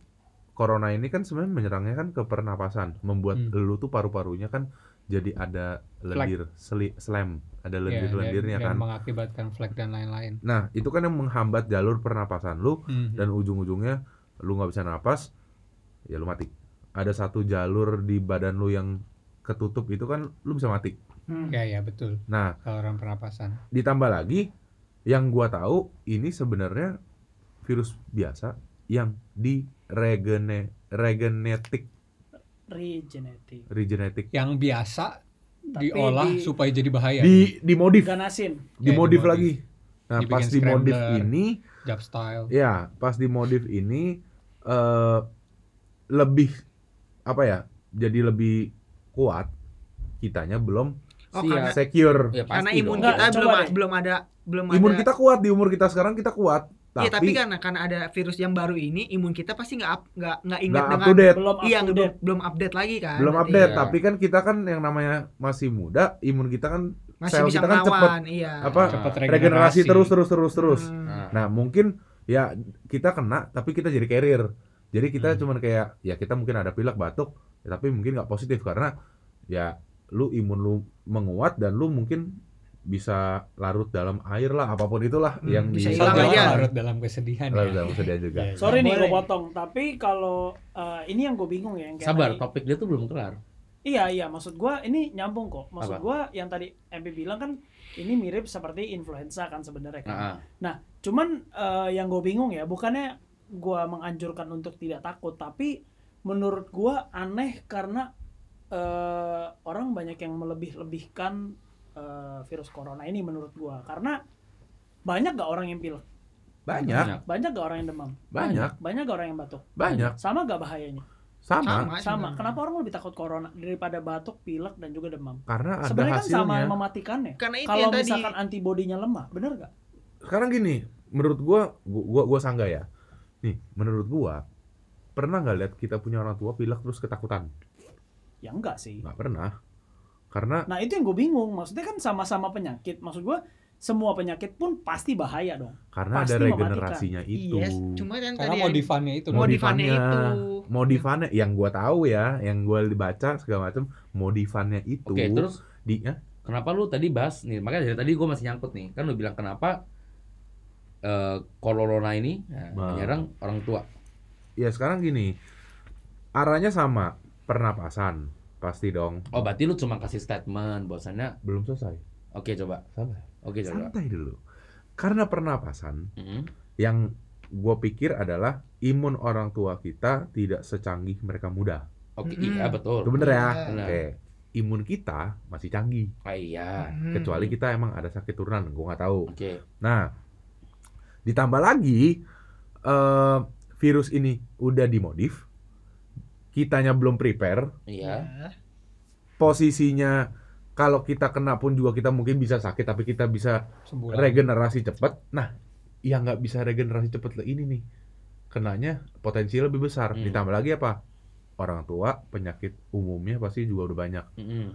E: corona ini kan sebenarnya menyerangnya kan ke pernapasan, membuat
D: Hmm.
E: lu tuh paru-parunya kan jadi ada lendir, seli, slam,
C: Iya,
D: Ya,
E: ada
D: dan-
E: lendir-lendirnya
D: dan
E: kan.
D: mengakibatkan flek dan lain-lain.
E: Nah, itu kan yang menghambat jalur pernapasan
C: Hmm.
E: lu dan ujung-ujungnya lu nggak bisa napas, ya lu mati. Ada satu jalur di badan lu yang ketutup itu kan lu bisa mati.
C: Hmm.
D: ya ya betul.
E: Nah,
D: Saluran pernapasan.
E: ditambah lagi yang gua tahu ini sebenarnya virus biasa yang di regene regenetik
B: Regenetik.
E: regenetik
D: Yang biasa
B: Tapi
D: diolah
B: di-
D: supaya jadi bahaya. Ya,
E: di dimodif
B: Ganasin.
E: dimodif
D: Iya, Eh, dimodif.
E: lagi nah
D: Dibikin
E: pas dimodif
D: scrambler.
E: ini
D: Job style.
E: ya pas dimodif ini eh lebih apa ya jadi lebih kuat kitanya belum
A: Siap.
C: Oh,
D: Iya.
C: karena-
E: secure
A: Ya,
C: karena
A: pasti
C: imun
A: dong.
C: kita
B: Nggak,
C: belum
B: coba deh.
C: belum ada belum
E: imun
C: ada
E: kita kuat di umur kita sekarang kita kuat tapi,
C: Iya, tapi, karena karena ada virus yang baru ini imun kita pasti nggak up- nggak nggak ingat
E: nggak up
C: dengan
E: to date
B: Belum up
C: iya
B: to
C: belum
B: date.
C: belum update lagi kan
E: belum
C: berarti.
E: update
A: Iya.
E: tapi kan kita kan yang namanya masih muda imun kita kan
C: masih
E: sel
C: bisa
E: kita kan cepet
C: melawan iya
E: apa
D: Cepat
E: regenerasi terus terus terus terus
C: Hmm.
A: Nah,
E: nah mungkin ya kita kena tapi kita jadi carrier jadi kita
D: Hmm.
E: cuman kayak ya kita mungkin ada pilek batuk ya tapi mungkin nggak positif karena ya lu imun lu menguat dan lu mungkin bisa larut dalam air lah apapun itulah
D: Hmm,
E: yang
C: bisa
E: di
C: hilang
D: Jangan
C: aja.
D: larut dalam kesedihan.
E: larut
D: ya.
E: dalam kesedihan juga
D: Iya, iya.
B: Sorry nih gue
C: Boleh.
B: potong, tapi kalau eh, ini yang gue bingung ya yang kayak
A: sabar,
B: tadi.
A: topik dia tuh belum kelar.
B: Iya iya, maksud gua ini nyambung kok.
A: Apa?
B: Maksud gua yang tadi MP bilang kan ini mirip seperti influenza kan sebenarnya kan.
A: Nah,
B: Cuman eh, yang gue bingung ya, bukannya gua menganjurkan untuk tidak takut, tapi menurut gua aneh karena eh, orang banyak yang melebih-lebihkan eh, virus corona ini menurut gua karena banyak gak orang yang pilek,
E: banyak
B: banyak gak orang yang demam,
E: banyak
B: banyak gak orang yang batuk,
E: banyak
B: sama gak bahayanya?
E: sama
B: Sama.
C: sebenarnya.
B: Kenapa orang lebih takut corona daripada batuk, pilek dan juga demam?
E: karena ada
B: Sebenarnya kan sama
E: hasilnya
B: mematikannya.
C: karena itu
B: Kalau
C: yang tadi
B: misalkan antibodinya lemah, bener gak?
E: sekarang gini menurut gua gua gua, gua sangga ya nih menurut gua pernah nggak lihat kita punya orang tua pilek terus ketakutan
B: Ya enggak sih.
E: nggak pernah karena
B: Nah itu yang gue bingung. Maksudnya kan sama-sama penyakit. Maksud gue semua penyakit pun pasti bahaya dong.
E: karena
B: Pasti
E: ada
B: mematikan.
E: regenerasinya itu
C: yes cuma kan
D: Karena
C: tadi
D: modifannya itu loh.
C: modifannya itu
E: Modifannya. modifannya yang gua tahu ya yang gua dibaca segala macam modifannya itu
A: oke, terus
E: di ya,
A: kenapa lu tadi bahas nih? Makanya dari tadi gua masih nyangkut nih. Kan lu bilang kenapa eh corona ini ya,
E: Nah.
A: menyerang orang tua.
E: ya sekarang gini arahnya sama pernapasan pasti dong
A: Oh, berarti lu cuma kasih statement bahwasannya
E: belum selesai
A: oke coba.
E: sabar
A: Oke, coba. Mm-hmm.
E: santai dulu karena pernapasan
A: Mm-mm.
E: yang gue pikir adalah imun orang tua kita tidak secanggih mereka muda.
A: Oke,
C: Mm-mm.
A: iya betul.
E: Itu bener ya?
A: Bener.
E: Oke. Imun kita masih canggih,
A: Ah, iya.
C: Hmm.
E: Ya, kecuali kita emang ada sakit turunan, gue nggak tahu.
A: Oke.
E: Nah, ditambah lagi eh, virus ini udah dimodif, kitanya belum prepare,
A: Iya.
E: posisinya kalau kita kena pun juga kita mungkin bisa sakit, tapi kita bisa
D: Sebulan.
E: regenerasi cepat. Nah, yang nggak bisa regenerasi cepat ini nih, kenanya potensi lebih besar.
A: Hmm.
E: Ditambah lagi apa? Orang tua penyakit umumnya pasti juga udah banyak.
A: Mm-mm.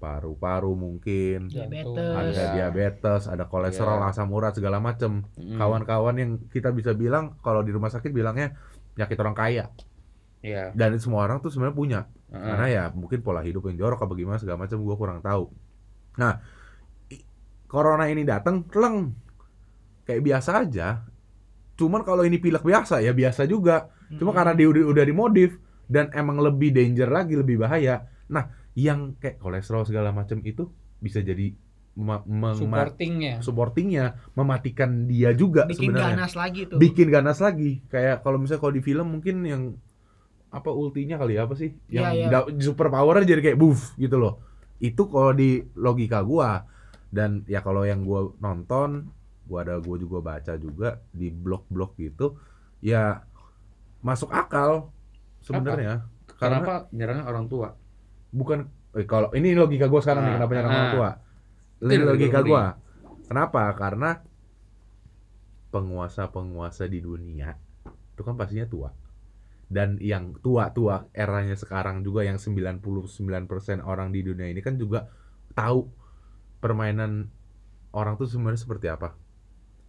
E: Paru-paru mungkin,
C: diabetes
E: ada diabetes, ada kolesterol,
A: Iya. Hmm.
E: asam urat segala macem.
A: Mm-mm.
E: Kawan-kawan yang kita bisa bilang kalau di rumah sakit bilangnya penyakit orang kaya.
A: Iya. Ah,
E: Dan semua orang tuh sebenarnya punya.
A: Heeh.
E: Karena ya mungkin pola hidup yang jorok apa gimana segala macam gua kurang tahu. Nah, i- corona ini datang teleng kayak biasa aja. Cuman kalau ini pilek biasa ya biasa juga. Cuma karena dia udah, udah dimodif dan emang lebih danger lagi, lebih bahaya. Nah, yang kayak kolesterol segala macam itu bisa jadi mema- mema-
D: supportingnya.
E: supportingnya mematikan dia juga
C: Hmm. bikin
E: sebenarnya
C: ganas lagi tuh
E: bikin ganas lagi kayak kalau misalnya kalau di film mungkin yang apa ultinya kali ya apa sih yang
C: Iya, iya.
E: da- super powernya jadi kayak buff gitu loh itu kalau di logika gua dan ya kalau yang gua nonton gua ada gua juga baca juga di blog-blog gitu ya masuk akal sebenarnya karena
A: Kenapa nyerangnya orang tua?
E: bukan eh, kalau ini logika gua sekarang nih
A: Ah,
E: kenapa
A: ah.
E: nyerang orang tua
A: Itu
E: ini
A: yang
E: logika
A: lebih
E: gua kenapa karena penguasa-penguasa di dunia itu kan pastinya tua dan yang tua-tua eranya sekarang juga yang 99% orang di dunia ini kan juga tahu permainan orang tuh sebenarnya seperti apa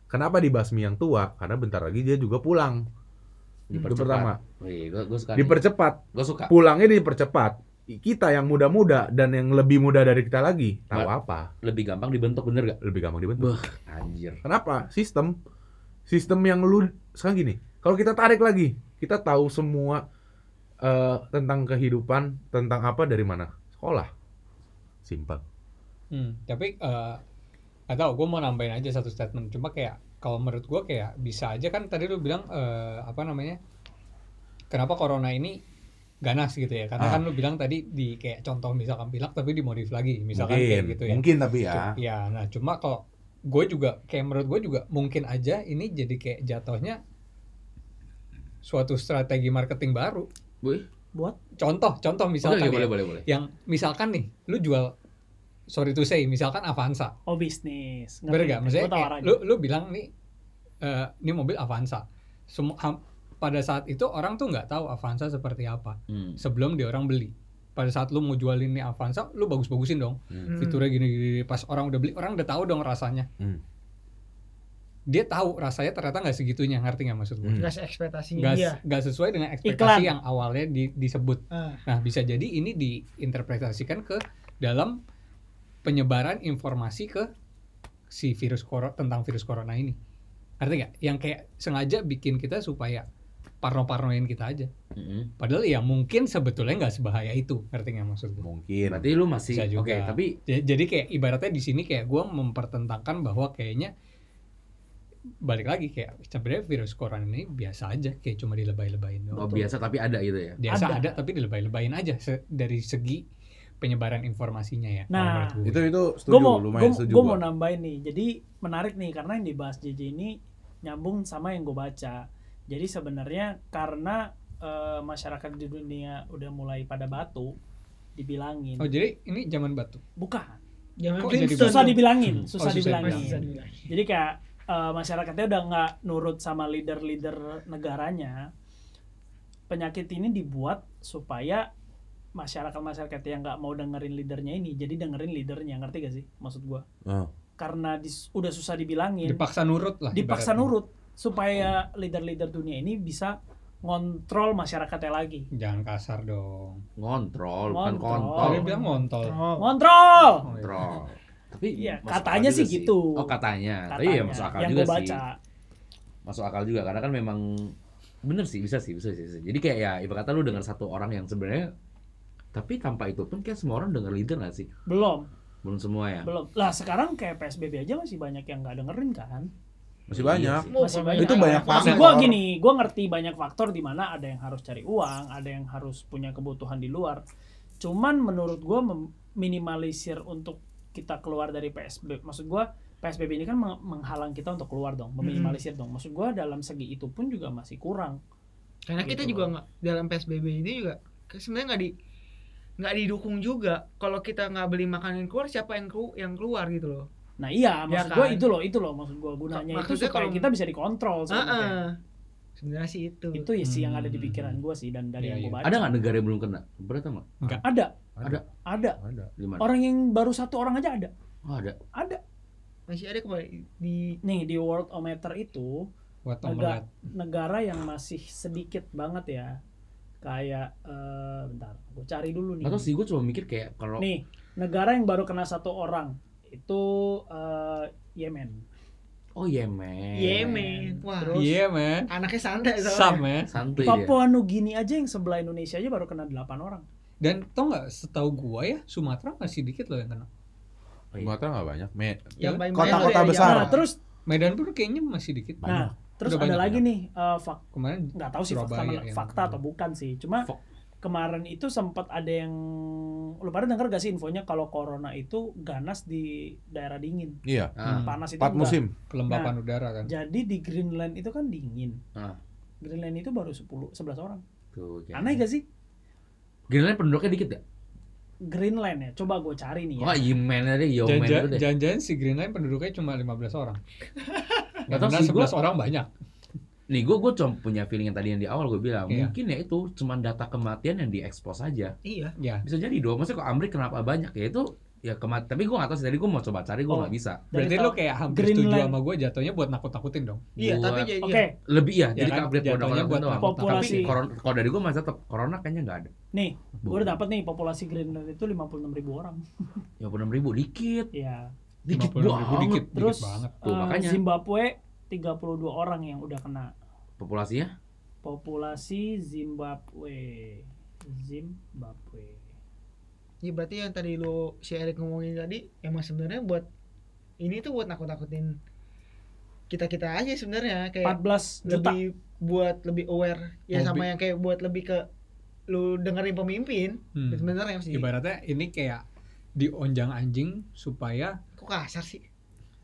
E: kenapa dibasmi yang tua karena bentar lagi dia juga pulang itu
A: Dipercepat.
E: pertama
A: Wih, gua, gua suka. nih.
E: dipercepat
A: gua suka.
E: pulangnya dipercepat kita yang muda-muda dan yang lebih muda dari kita lagi tahu apa
A: Lebih gampang dibentuk bener gak?
E: lebih gampang
A: Beuh.
E: dibentuk
A: Anjir.
E: kenapa sistem sistem yang lu sekarang gini kalau kita tarik lagi kita tahu semua eh, tentang kehidupan tentang apa dari mana sekolah simpel
D: Hmm, tapi eh, Gak tau, gue mau nambahin aja satu statement. Cuma kayak, kalau menurut gue kayak bisa aja kan tadi lu bilang, eh, apa namanya, kenapa corona ini ganas gitu ya. Karena
E: Ah.
D: kan lu bilang tadi di kayak contoh misalkan pilak tapi dimodif lagi. Misalkan
E: mungkin,
D: kayak gitu ya.
E: mungkin tapi ya.
D: Cu- Ya, nah cuma kalau gue juga, kayak menurut gue juga mungkin aja ini jadi kayak jatuhnya suatu strategi marketing baru.
A: Wih.
B: Buat?
D: Contoh, contoh
A: Oke, oke,
D: misalkan ya,
A: boleh, boleh, boleh.
D: yang misalkan nih, lu jual, sorry to say, misalkan Avanza.
B: Oh bisnis. Ngerti,
D: Bener gak?
B: ngerti.
D: Maksudnya
B: Gua tawar
D: kayak
B: aja.
D: lu, lu bilang nih, eh, ini mobil Avanza. Semua, ham- pada saat itu orang tuh nggak tahu Avanza seperti apa
A: Hmm.
D: sebelum dia orang beli. Pada saat lu mau jualin nih Avanza, lu bagus-bagusin dong.
E: Hmm.
D: Fiturnya gini-gini. Pas orang udah beli, orang udah tahu dong rasanya.
E: Hmm.
D: Dia tahu rasanya ternyata nggak segitunya, ngerti nggak maksud gue?
B: Nah.
E: Hmm.
C: Gas ekspektasinya
D: Nggak
C: dia.
D: nggak sesuai dengan
B: Iya.
D: ekspektasi
B: Iklan.
D: yang awalnya di- disebut.
C: Ah.
D: Nah, bisa jadi ini diinterpretasikan ke dalam penyebaran informasi ke si virus corona tentang virus corona ini. Ngerti nggak? Yang kayak sengaja bikin kita supaya parno-parnoin kita aja.
A: Mm-mm.
D: Padahal ya mungkin sebetulnya nggak sebahaya itu. Ngerti nggak maksud gue?
E: Mungkin.
A: Berarti lu masih
D: Bisa juga.
A: oke, tapi
D: Ja- Jadi kayak ibaratnya di sini kayak gue mempertentangkan bahwa kayaknya balik lagi kayak sebenarnya virus corona ini biasa aja kayak cuma dilebay-lebayin
A: oh,
D: doang.
A: biasa tapi ada gitu ya.
D: biasa
B: Ada.
D: ada, tapi dilebay-lebayin aja se- dari segi penyebaran informasinya ya. kalau
B: Nah,
D: menurut gue.
E: Itu itu setuju
B: Gue mau,
E: lumayan
B: gua,
E: setuju.
B: gua mau
E: gua.
B: nambahin nih. Jadi menarik nih karena yang dibahas JJ ini nyambung sama yang gue baca. Jadi sebenarnya karena eh, masyarakat di dunia udah mulai pada batu, dibilangin
D: oh jadi ini zaman batu.
B: bukan
C: Jangan
D: Kok jadi
C: Flintstone.
B: susah
C: dong.
B: dibilangin,
A: Hmm.
B: susah
D: Oh, susah
B: dibilangin.
D: dibilangin.
B: Jadi kayak eh, masyarakatnya udah nggak nurut sama leader-leader negaranya. Penyakit ini dibuat supaya masyarakat-masyarakat yang nggak mau dengerin leadernya ini, jadi dengerin leadernya, ngerti gak sih maksud gua?
E: Ah.
B: Karena dis- udah susah dibilangin,
D: Dipaksa nurut lah.
B: Iya. dipaksa
D: ibaratnya.
B: nurut supaya leader-leader dunia ini bisa ngontrol masyarakatnya lagi.
D: Jangan kasar dong.
A: Ngontrol, bukan
B: Ngontrol.
A: kontol.
D: Tadi bilang ngontol.
C: Oh.
B: Ngontrol.
D: Oh, iya.
A: Ngontrol. Tapi
B: Iya,
A: masuk
B: katanya
A: akal
B: sih
A: juga
B: gitu.
A: Oh, katanya. Tapi ya
B: Katanya,
A: masuk akal
B: yang
A: juga
B: gua baca.
A: sih. Masuk akal juga karena kan memang bener sih, bisa sih, bisa sih. bisa sih. Jadi kayak ya ibarat kata lu dengar satu orang yang sebenarnya tapi tanpa itu pun kayak semua orang dengar leader gak sih?
B: Belum,
A: Belum semua ya.
B: belum. Lah sekarang kayak PSBB aja masih banyak yang nggak dengerin kan?
E: Masih
A: Iya
E: banyak.
A: sih.
C: Mau
B: Masih
C: sama
B: banyak.
E: Itu banyak
B: Maksud
E: banget.
B: gue gini, gue ngerti banyak faktor di mana ada yang harus cari uang, ada yang harus punya kebutuhan di luar. Cuman menurut gue minimalisir untuk kita keluar dari PSBB. Maksud gue PSBB ini kan meng- menghalang kita untuk keluar dong, meminimalisir dong. Maksud gue dalam segi itu pun juga masih kurang.
C: Karena kita
B: Gitu
C: juga
B: loh.
C: nggak dalam PSBB ini juga ke- sebenarnya nggak di nggak didukung juga kalau kita nggak beli makanan keluar siapa yang kelu- yang keluar gitu loh
B: Nah iya,
C: Ya
B: maksud gue
C: kan?
B: itu loh, itu loh maksud gue gunanya itu
C: Maksudnya
B: supaya
C: kalau-
B: kita bisa dikontrol sebenarnya.
C: Heeh. Ah, sebenarnya sih itu
B: Itu ya sih yang ada di
D: Hmm.
B: pikiran gue sih dan dari
D: Iya,
B: yang gue
D: iya.
B: baca.
A: Ada nggak negara yang belum kena? Berat nggak?
B: Ada,
A: Ada.
B: ada.
E: Ada.
A: Di mana?
B: Orang yang baru satu orang aja ada,
A: Oh, ada.
B: ada.
C: masih ada kembali di
B: Nih di Worldometer itu
D: Buat
B: Agak.
D: omelet.
B: negara yang masih sedikit banget ya kayak eh bentar gue cari dulu nih
A: Atau sih gue cuma mikir kayak kalau
B: nih negara yang baru kena satu orang itu eh, Yemen
A: oh Yemen.
C: Yemen wah
B: Terus-
D: Iya men.
C: anaknya santai
D: Sam
C: soalnya
D: ya.
A: Santuy dia.
B: Papua Nugini aja yang sebelah Indonesia aja baru kena 8 orang
D: Dan tau nggak setahu gua ya Sumatera masih dikit loh yang kena.
A: Oh, iya.
E: Sumatera nggak banyak. Me
C: yang
D: Ya,
C: paling
E: kota-kota
C: banyak tuh ya
E: besar.
B: nah terus
D: Medan pun kayaknya masih dikit.
E: Banyak.
B: nah terus
D: Udah
B: ada
D: banyak,
B: lagi nih eh, fak
D: Kemarin
B: nggak tahu sih fakta,
D: Surabaya
B: mana-
D: yang-
B: fakta atau bukan sih cuma
A: Fak-
B: kemarin itu sempat ada yang lu pada denger gak sih infonya kalau corona itu ganas di daerah dingin
E: Iya.
A: Ah,
D: Hmm.
B: panas itu
E: Empat
B: enggak.
E: musim.
D: kelembapan
B: Nah.
D: udara kan.
B: Jadi di Greenland itu kan dingin.
A: Ah. Ya.
B: Greenland itu baru 10 11 orang.
A: tuh. kayak-
B: Aneh gak sih?
A: Greenland penduduknya dikit ya?
B: Greenland ya. Coba gue cari nih ya.
A: Wah, Yemen aja, Yemen itu
D: Jangan-
A: deh.
D: Jangan-jangan si Greenland penduduknya cuma 15 orang.
A: Nggak
D: Karena
A: tahu sih, gua-
D: 11 orang banyak.
A: Nih, gue gue cuma punya feeling yang tadi yang di awal gue bilang,
D: Iya.
A: mungkin ya itu cuman data kematian yang diekspos aja.
C: iya
D: Ya,
A: Bisa jadi dong. Maksudnya kok Amrik kenapa banyak ya itu ya kemat tapi gue gak tahu sih tadi gue mau coba cari gue
B: Oh.
A: nggak bisa
B: Dari
D: Berarti
B: tahun-
D: lo kayak hampir
B: Greenland.
D: setuju sama gue jatuhnya buat nakut-nakutin dong.
C: iya
A: Buat-
C: tapi jadi
B: Oke,
C: iya.
A: lebih ya,
D: Ya
A: jadi
D: kan,
A: kan, update
D: jatuhnya
A: modal
D: buat
A: doang
B: populasi.
A: tapi koron- kalau dari gue masih tetap corona kayaknya nggak ada
B: nih, gue udah dapet nih populasi Greenland itu 56.000 ribu orang.
A: ya ribu dikit
B: Ya.
A: dikit
D: 50.000
A: banget
D: dikit,
B: Terus
D: dikit banget.
A: Tuh,
B: eh,
A: makanya.
B: Zimbabwe 32 orang yang udah kena.
A: populasinya
B: Populasi Zimbabwe. Zimbabwe.
C: iya, Ya, berarti yang tadi lu si Erik ngomongin tadi emang sebenarnya buat ini tuh buat nakut-nakutin kita kita aja sebenarnya kayak
B: 14 juta
C: lebih buat lebih aware ya sama
D: Lebih-
C: yang kayak buat lebih ke lu dengerin pemimpin
D: Hmm.
C: sebenarnya sih
D: Ibaratnya ini kayak dionjang anjing supaya
C: kok kasar sih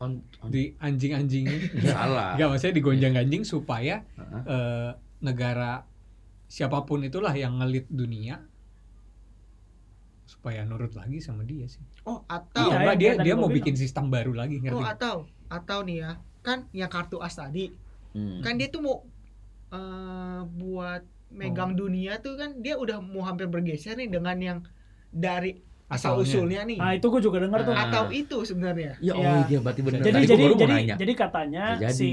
A: On, on-
D: di anjing-anjing
A: salah.
D: Enggak maksudnya digonjang ganjing supaya
A: Heeh.
D: eh, negara siapapun itulah yang ngelit dunia supaya nurut lagi sama dia sih.
C: oh atau
D: Atau
B: Iya,
D: enggak
B: yang
D: dia
B: tadi
D: dia
B: gua
D: mau
B: bilang.
D: bikin sistem baru lagi ngerti?
C: oh
D: nggak?
C: atau atau nih ya kan yang kartu as tadi
A: Hmm.
C: kan dia tuh mau eh, buat megang dunia tuh kan dia udah mau hampir bergeser nih dengan yang dari asal
D: Asalnya.
C: usulnya nih
B: nah itu gue juga denger tuh
A: Nah,
C: atau itu sebenarnya
A: Ya,
C: Ya.
A: oh iya berarti benar.
B: jadi
A: Tadi gua
B: jadi
A: baru mau
B: jadi
A: nanya.
B: jadi katanya
A: Ya, jadi.
B: si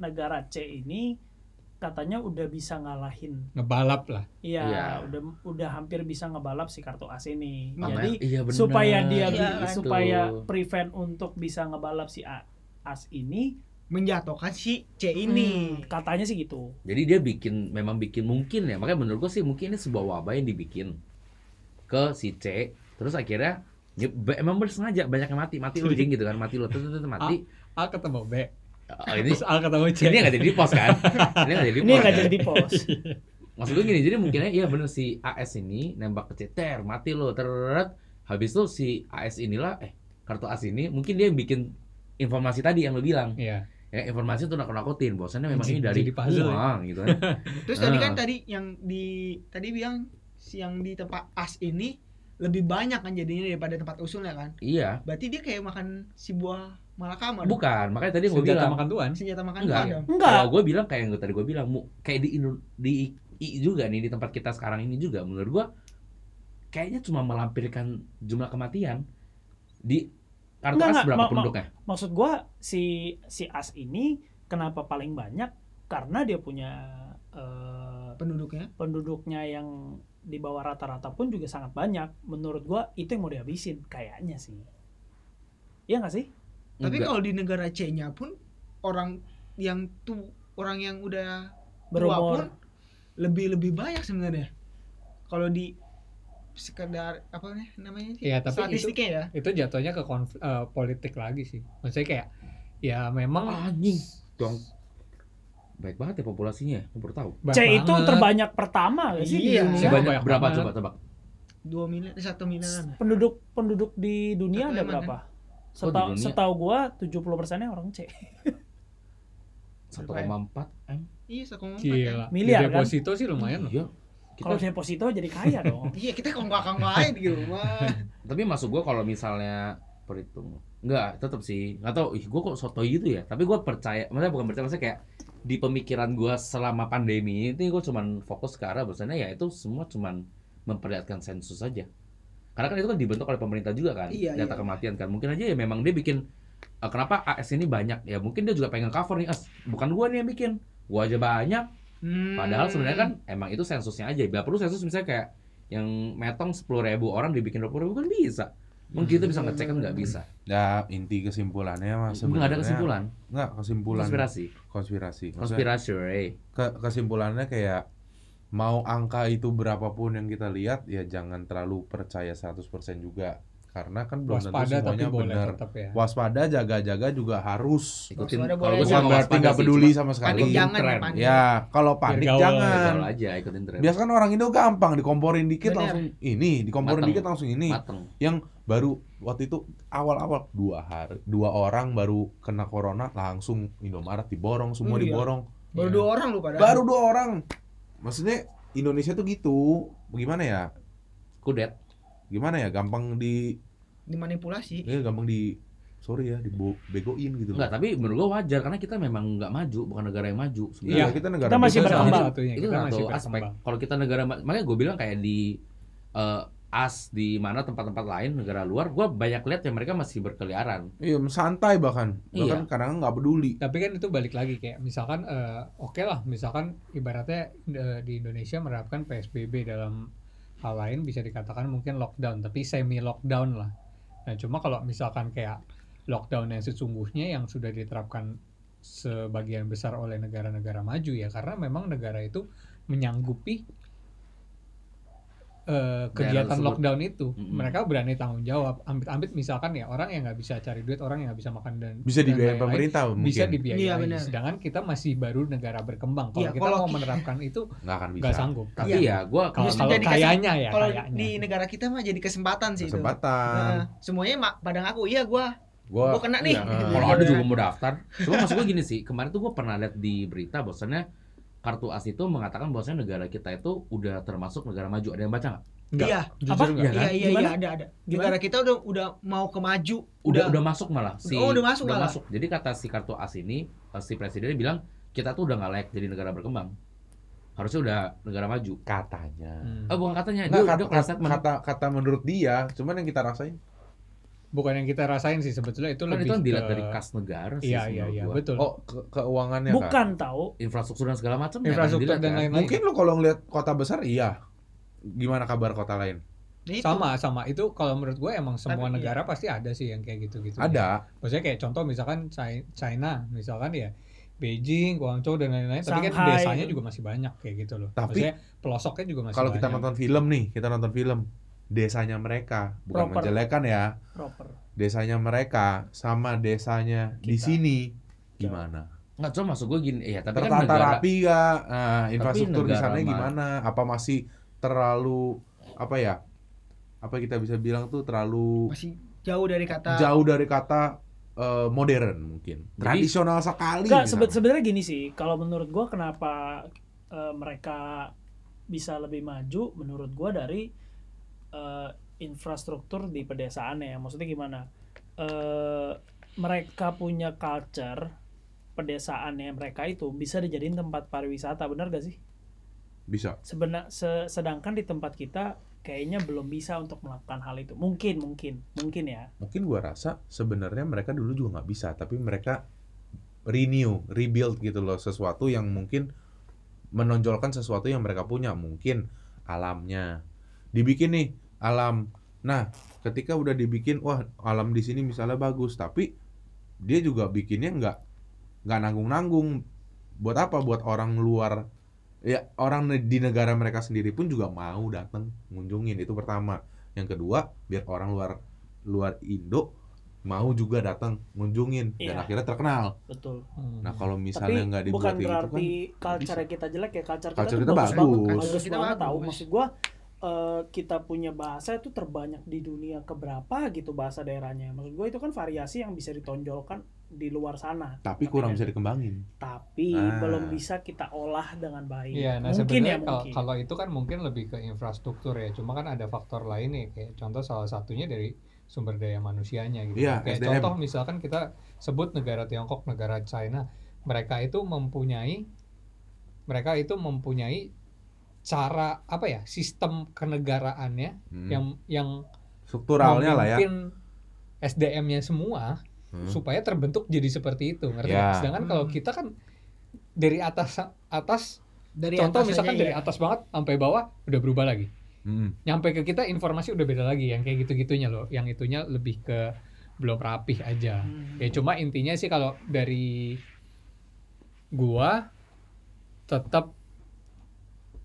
B: negara C ini katanya udah bisa ngalahin
D: Ngebalap lah.
B: iya
A: Iya.
B: udah udah hampir bisa ngebalap si kartu as ini
A: Makanya-
B: jadi
A: iya, benar.
B: supaya dia
C: Iya,
B: bi-
A: Itu.
B: supaya prevent untuk bisa ngebalap si A- as ini
C: menjatuhkan si C ini
B: hmm, katanya sih gitu
A: Jadi dia bikin memang bikin mungkin ya. Makanya menurut gua sih mungkin ini sebuah wabah yang dibikin ke si C terus akhirnya ya, be- emang bersengaja banyak yang mati mati lu jing gitu kan mati lu terus terus, terus, mati
D: A ketemu B, Ah.
A: Oh, ini
D: terus A ketemu C.
A: ini nggak jadi di pos kan ini nggak jadi di
B: ini
A: pos
B: nggak
A: kan?
B: jadi di post
A: maksud gue gini jadi mungkinnya iya bener si AS ini nembak ke ceter mati lo teret habis itu si AS inilah eh kartu AS ini mungkin dia yang bikin informasi tadi yang lo bilang
D: Iya.
A: ya informasi itu nakut-nakutin bahwasannya memang
D: Jadi-
A: ini dari
D: jadi puzzle ya.
A: uang gitu kan
C: terus tadi kan
A: Ah.
C: tadi yang di tadi bilang si yang di tempat as ini lebih banyak kan jadinya daripada tempat usulnya kan
A: iya
C: berarti dia kayak makan si buah malakama dong.
A: bukan makanya tadi gue
D: Senjata
A: bilang
D: makan tuan.
C: senjata makan
A: Enggak.
C: buah dong.
B: enggak
A: kalau gue bilang kayak yang tadi gue bilang mu kayak di Indo- di I juga nih di tempat kita sekarang ini juga menurut gue kayaknya cuma melampirkan jumlah kematian di kartu
B: Enggak,
A: AS
B: enggak,
A: berapa
B: mau- mau-
A: penduduknya
B: maksud gua si si as ini kenapa paling banyak karena dia punya eh,
C: penduduknya
B: penduduknya yang di bawah rata-rata pun juga sangat banyak. Menurut gua itu yang mau dihabisin kayaknya sih. Iya nggak sih?
C: tapi
A: Enggak.
C: kalau di negara C nya pun orang yang tu orang yang udah tua pun
B: Berumur.
C: lebih lebih banyak sebenarnya kalau di sekedar apa nih namanya sih?
D: Iya, tapi itu
C: statistiknya ya
D: itu jatuhnya ke konf- eh, politik lagi sih. Maksudnya kayak ya memang
A: Ah, anjing dong baik banget ya populasinya gue baru tahu
D: banyak
B: C itu
D: banget.
B: terbanyak pertama nggak sih di
C: Iya.
B: dunia?
D: Siapa?
A: Sebanyak
D: banyak
A: berapa
D: banget.
A: coba tebak
C: dua miliar eh, satu miliaran
B: Penduduk penduduk di dunia
C: Satu
B: ada
C: emang,
B: berapa?
A: Oh, di
B: Setau,
A: dunia.
B: setahu gua 70% orang C.
A: 1,4 m
C: iya satu koma empat kan.
D: Gila.
B: Miliar,
D: Di
B: kan?
D: deposito sih lumayan loh.
A: iya
B: Kalau
A: kita,
B: deposito jadi kaya dong.
C: iya kita kongkak kongkak aja di rumah
A: tapi masuk gua kalau misalnya perhitung nggak tetap sih nggak tahu ih gua kok sotoy gitu ya tapi gua percaya maksudnya bukan percaya maksudnya kayak di pemikiran gua selama pandemi ini gua cuman fokus ke arah bahwasannya ya itu semua cuman memperlihatkan sensus saja karena kan itu kan dibentuk oleh pemerintah juga kan
C: Iya,
A: data
C: iya.
A: kematian kan mungkin aja ya memang dia bikin eh, kenapa AS ini banyak ya mungkin dia juga pengen cover nih AS bukan gua nih yang bikin gua aja banyak
C: Hmm.
A: Padahal sebenarnya kan emang itu sensusnya aja. Gak perlu sensus misalnya kayak yang metong 10.000 orang dibikin 20.000 kan bisa. Mungkin kita bisa ngecek kan nggak bisa.
E: Ya inti kesimpulannya
D: Nah,
E: mas
A: Nggak ada kesimpulan.
E: Nggak kesimpulan.
A: Konspirasi.
E: Konspirasi. Maksudnya,
A: Konspirasi. Ray.
E: ke- kesimpulannya kayak mau angka itu berapapun yang kita lihat ya jangan terlalu percaya 100% juga karena kan belum
D: Waspada
E: tentu
D: tapi
E: semuanya
D: boleh
E: benar.
D: tetap ya.
E: Waspada jaga-jaga juga harus.
A: Ikutin.
C: Suara
A: Kalau
C: boleh
A: gue sih nggak
E: Bukan berarti
A: waspada
E: nggak
A: sih,
E: peduli
A: cuma
E: sama
C: panik
E: sekali.
A: Ikutin
C: jangan
A: tren.
C: panik
E: Ya, kalau panik
D: gaul,
A: Ya,
E: jangan.
A: gaul aja ikutin tren.
E: Biasa kan orang Indo gampang dikomporin dikit
C: Bener.
E: langsung ini, dikomporin
A: Mateng.
E: dikit langsung ini.
A: Mateng.
E: Yang baru waktu itu awal-awal dua hari, dua orang baru kena corona langsung Indomaret diborong, semua
C: Iya.
E: diborong.
C: baru
D: Iya.
C: dua orang lu padahal
E: Baru dua orang. Maksudnya Indonesia tuh gitu. Gimana ya?
A: Kudet.
E: Gimana ya? Gampang di
C: dimanipulasi
E: ya gampang di sorry ya, dibegoin gitu.
A: Enggak, tapi menurut gue wajar karena kita memang nggak maju, bukan negara yang maju.
E: Iya,
A: sebenarnya.
E: kita negara
B: Kita masih
E: bebas,
D: Salah
B: berkembang.
D: satunya,
A: itu
D: kita
A: salah
D: masih
A: satu aspek
D: berkembang.
A: kalau kita negara makanya gue bilang kayak di eh, as di mana tempat-tempat lain negara luar gue banyak lihat yang mereka masih berkeliaran
E: Iya, santai bahkan. Bahkan
A: Iya.
E: kadang nggak peduli.
D: Tapi kan itu balik lagi kayak misalkan eh, oke lah misalkan ibaratnya eh, di Indonesia menerapkan PSBB dalam hal lain bisa dikatakan mungkin lockdown tapi semi lockdown lah. Nah cuma kalau misalkan kayak lockdown yang sesungguhnya yang sudah diterapkan sebagian besar oleh negara-negara maju ya karena memang negara itu menyanggupi eh, kegiatan
A: tersebut.
D: lockdown itu
A: Mm-mm.
D: mereka berani tanggung jawab amit-amit misalkan ya orang yang nggak bisa cari duit orang yang nggak bisa makan dan
E: Bisa
D: dan
E: dibiayain
D: lain-lain,
E: pemerintah mungkin.
D: Iya, bisa dibiayai
C: Iya, benar.
D: sedangkan kita masih baru negara berkembang
C: Iya,
D: kalau kita
C: kalau ki-
D: mau
C: Iya.
D: menerapkan itu
E: Nggak akan bisa.
D: nggak sanggup
A: Tapi ya gue
D: kalau
C: Justru
D: kalau
C: jadi kasih-
D: kayaknya ya
C: Kalau
D: kayaknya.
C: di negara kita mah jadi kesempatan sih itu.
E: Kesempatan.
C: Nah, semuanya mak pada ngaku iya gua
E: Gua
C: gua kena nih.
E: iya.
C: Gitu.
A: Kalau ada juga mau daftar. Cuma maksud gue gini sih, kemarin tuh gue pernah lihat di berita bahwasannya kartu as itu mengatakan bahwasannya negara kita itu udah termasuk negara maju. Ada yang baca nggak?
D: Nggak,
C: Iya,
D: jujur
A: Apa?
D: nggak.
A: Iya kan?
C: iya iya
B: Gimana?
C: iya ada ada.
B: Gitu.
C: Negara kita udah udah mau ke maju,
A: Udah, udah masuk malah. Si,
C: Oh, udah masuk malah.
A: masuk. Jadi kata si kartu as ini, eh, si presidennya bilang kita tuh udah nggak layak jadi negara berkembang. Harusnya udah negara maju.
E: katanya.
D: Hmm.
A: Oh, bukan katanya.
E: Nggak,
A: Dia
E: kata,
A: udah kelas
E: kata, kata kata menurut dia, cuman yang kita rasain
D: bukan yang kita rasain sih sebetulnya itu
A: Kan
D: lebih
A: itu kan dilihat
D: ke-
A: dari kas negara sih
D: Iya, iya,
A: menurut
D: iya,
A: gua.
D: betul.
E: oh ke- keuangannya kan.
B: bukan tahu
A: Infrastruktur dan segala macam ya, kan
D: Infrastruktur dan lain-lain.
E: Mungkin lu kalau ngeliat kota besar iya. Gimana kabar kota lain?
C: Nah, itu.
D: sama sama itu kalau menurut gue emang
C: Tapi
D: semua
C: iya.
D: negara pasti ada sih yang kayak gitu gitu
E: Ada.
D: maksudnya kayak contoh misalkan Chi- China misalkan ya Beijing, Guangzhou dan lain-lain tapi kan
B: Shanghai.
D: desanya juga masih banyak kayak gitu loh
E: Tapi-
D: maksudnya pelosoknya juga masih
E: Kalau
D: banyak
E: kita nonton film nih, kita nonton film desanya mereka, bukan
B: Proper.
E: menjelekan ya.
B: proper
A: Iya.
E: Desanya mereka sama desanya di
B: Kita.
E: sini gimana?
A: Enggak, cuma maksud gue gini, ya tapi kan
E: tertata
A: negara
E: rapi gak? Nah, infrastruktur di
A: negara
E: sana
A: mah-
E: gimana? Apa masih terlalu apa ya? Apa kita bisa bilang tuh terlalu
C: masih jauh dari kata
E: jauh dari kata eh, modern mungkin. Tradisional sekali.
B: Nggak,
E: di
B: sebe-
E: sana.
B: sebenarnya gini sih kalau menurut gua kenapa eh, mereka bisa lebih maju menurut gua dari eh, infrastruktur di pedesaannya maksudnya gimana Eh, mereka punya culture pedesaannya mereka itu bisa dijadiin tempat pariwisata benar gak sih
E: bisa.
B: Sebena- se- sedangkan di tempat kita kayaknya belum bisa untuk melakukan hal itu mungkin mungkin mungkin ya
E: Mungkin gua rasa sebenarnya mereka dulu juga nggak bisa, tapi mereka renew, rebuild gitu loh sesuatu yang mungkin menonjolkan sesuatu yang mereka punya, mungkin alamnya. Dibikin nih alam. Nah, ketika udah dibikin wah alam di sini misalnya bagus, tapi dia juga bikinnya nggak nggak nanggung-nanggung. Buat apa? Buat orang luar ya orang ne- di negara mereka sendiri pun juga mau datang ngunjungin itu pertama. Yang kedua, biar orang luar luar Indo mau juga datang ngunjungin dan
B: Iya.
E: akhirnya terkenal.
B: betul
D: Hmm.
E: Nah kalau misalnya nggak
B: tapi bukan
E: dibuat itu
B: berarti
E: kan
B: culture kita jelek ya culture,
E: Culture
B: kita,
E: kita
B: tuh bagus,
E: bagus.
B: banget
C: Culture
B: bagus
C: kita
B: banget tahu
C: bagus.
B: maksud gua eh, kita punya bahasa itu terbanyak di dunia keberapa gitu bahasa daerahnya maksud gua itu kan variasi yang bisa ditonjolkan di luar sana
E: kan, tapi kurang bisa dikembangin.
B: tapi
E: Ah.
B: belum bisa kita olah dengan baik
D: Iya, nah
B: mungkin ya
D: sebenarnya kalau-
B: mungkin
D: kalau itu kan mungkin lebih ke infrastruktur ya. Cuma kan ada faktor lain nih, kayak contoh salah satunya dari sumber daya manusianya gitu.
E: Iya,
D: kayak
E: SDM.
D: contoh misalkan kita sebut negara Tiongkok, negara China, mereka itu mempunyai mereka itu mempunyai cara apa ya sistem kenegaraannya
E: Hmm.
D: yang yang
E: Strukturalnya lah ya.
D: memimpin SDM-nya semua
E: Hmm.
D: supaya terbentuk jadi seperti itu ngerti
E: Ya.
D: nggak? sedangkan
B: Hmm.
D: kalau kita kan dari atas atas
C: dari
D: contoh
C: atas
D: misalkan
C: aja,
D: dari
C: iya.
D: atas banget sampai bawah udah berubah lagi
E: Hmm.
D: nyampe ke kita informasi udah beda lagi yang kayak gitu gitunya loh yang itunya lebih ke belum rapih aja
C: Hmm.
D: ya cuma intinya sih kalau dari gua tetap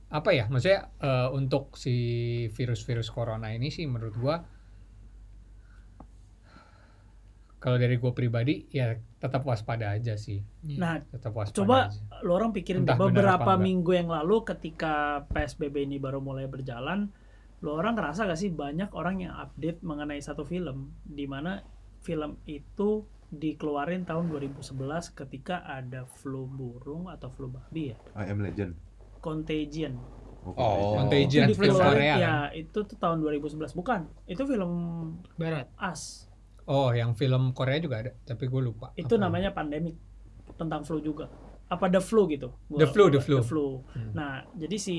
D: apa ya maksudnya eh, untuk si virus-virus corona ini sih menurut gua kalau dari gua pribadi ya tetap waspada aja sih
B: nah
D: tetap waspada
B: Coba
D: aja.
B: lo orang pikirin
D: Entah
B: deh,
D: benar apa
B: beberapa
D: enggak.
B: minggu yang lalu ketika PSBB ini baru mulai berjalan lo orang ngerasa gak sih banyak orang yang update mengenai satu film di mana film itu dikeluarin tahun 2011 ketika ada flu burung atau flu babi ya
E: I am legend.
B: Contagion
A: Oh.
D: Contagion
B: itu
D: Iya, film
B: dikeluarin-
D: Korea kan?
B: ya itu tuh tahun 2011 bukan itu film
C: barat.
B: as
D: Oh, yang film Korea juga ada, tapi gue lupa.
B: itu
D: Apa?
B: namanya pandemik tentang flu juga apa the flu gitu Gua-
D: The Flu, The Flu. Hmm.
B: Nah, jadi si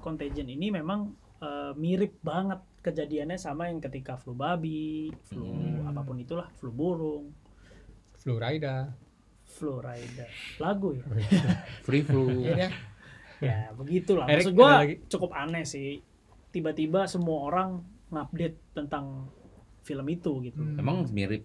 B: Contagion ini memang eh, mirip banget kejadiannya sama yang ketika flu babi, flu
A: Hmm.
B: apapun itulah, flu burung,
D: Florida.
B: flu rider. Lagu ya.
A: Free flu.
C: Iya,
B: ya, begitulah. Maksud
D: Eric,
B: gua
D: ada lagi?
B: cukup aneh sih. Tiba-tiba semua orang ngupdate tentang film itu gitu.
D: Hmm.
A: Emang mirip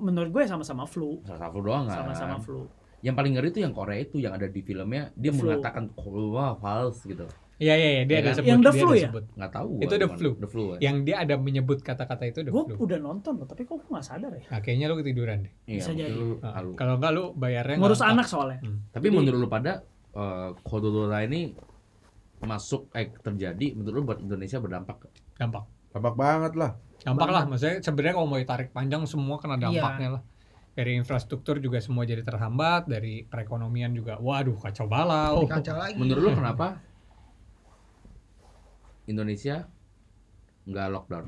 B: Menurut gue sama-sama flu,
A: salah flu doang kan?
B: sama-sama flu.
A: Yang paling ngeri itu yang Korea itu yang ada di filmnya dia
B: Flu.
A: mengatakan wah fals gitu.
D: Iya iya iya, dia
A: Ya
D: ada
A: kan?
D: sebut.
B: Yang the
D: dia
B: flu
D: ada
B: ya?
D: sebut.
A: nggak tahu
D: Itu
A: gua
D: the
A: cuman-
D: flu. Iya.
A: the flu ya.
D: Yang dia ada menyebut kata-kata itu the
B: Gue
D: flu.
B: udah nonton loh, tapi kok gue nggak sadar ya?
D: Nah, kayaknya lu ketiduran deh.
A: Iya,
B: bisa
A: mungkin
B: jadi.
A: lu
D: Nah,
A: halu-
D: kalau enggak lu bayarnya
B: Ngurus
D: ngangkat.
B: anak soalnya.
A: Tapi
B: Jadi-
A: menurut lu pada eh, Kododora ini masuk eh terjadi menurut lu buat Indonesia berdampak
D: dampak.
E: Tampak banget lah.
D: Dampak
B: Banget.
D: lah maksudnya sebenarnya kalau mau ditarik panjang semua kena
B: Iya.
D: dampaknya lah. Dari infrastruktur juga semua jadi terhambat, dari perekonomian juga waduh kacau balau.
C: Kacau lagi.
A: menurut lu kenapa Indonesia nggak lockdown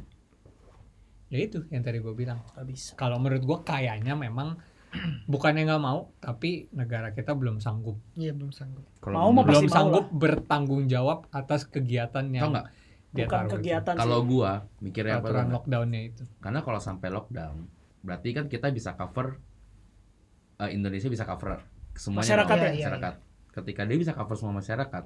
D: Ya itu yang tadi gue bilang.
B: Gak bisa.
D: Kalau menurut gue kayaknya memang bukannya nggak mau, tapi negara kita belum sanggup.
C: Iya belum sanggup.
A: kalau menurut-
B: Mau Pasti
D: belum
B: mau
D: sanggup bertanggung jawab atas kegiatan
A: tau
D: yang
A: nggak Iya,
D: dia
B: Bukan
D: taruh itu.
B: kegiatan
A: kalau
B: sih.
A: gua mikirnya apa
D: aturan
A: tau nggak?
D: lockdownnya itu.
A: karena kalau sampai lockdown berarti kan kita bisa cover eh, Indonesia bisa cover semuanya
B: Masyarakat
A: dong,
C: ya? Iya,
A: masyarakat ketika dia bisa cover semua masyarakat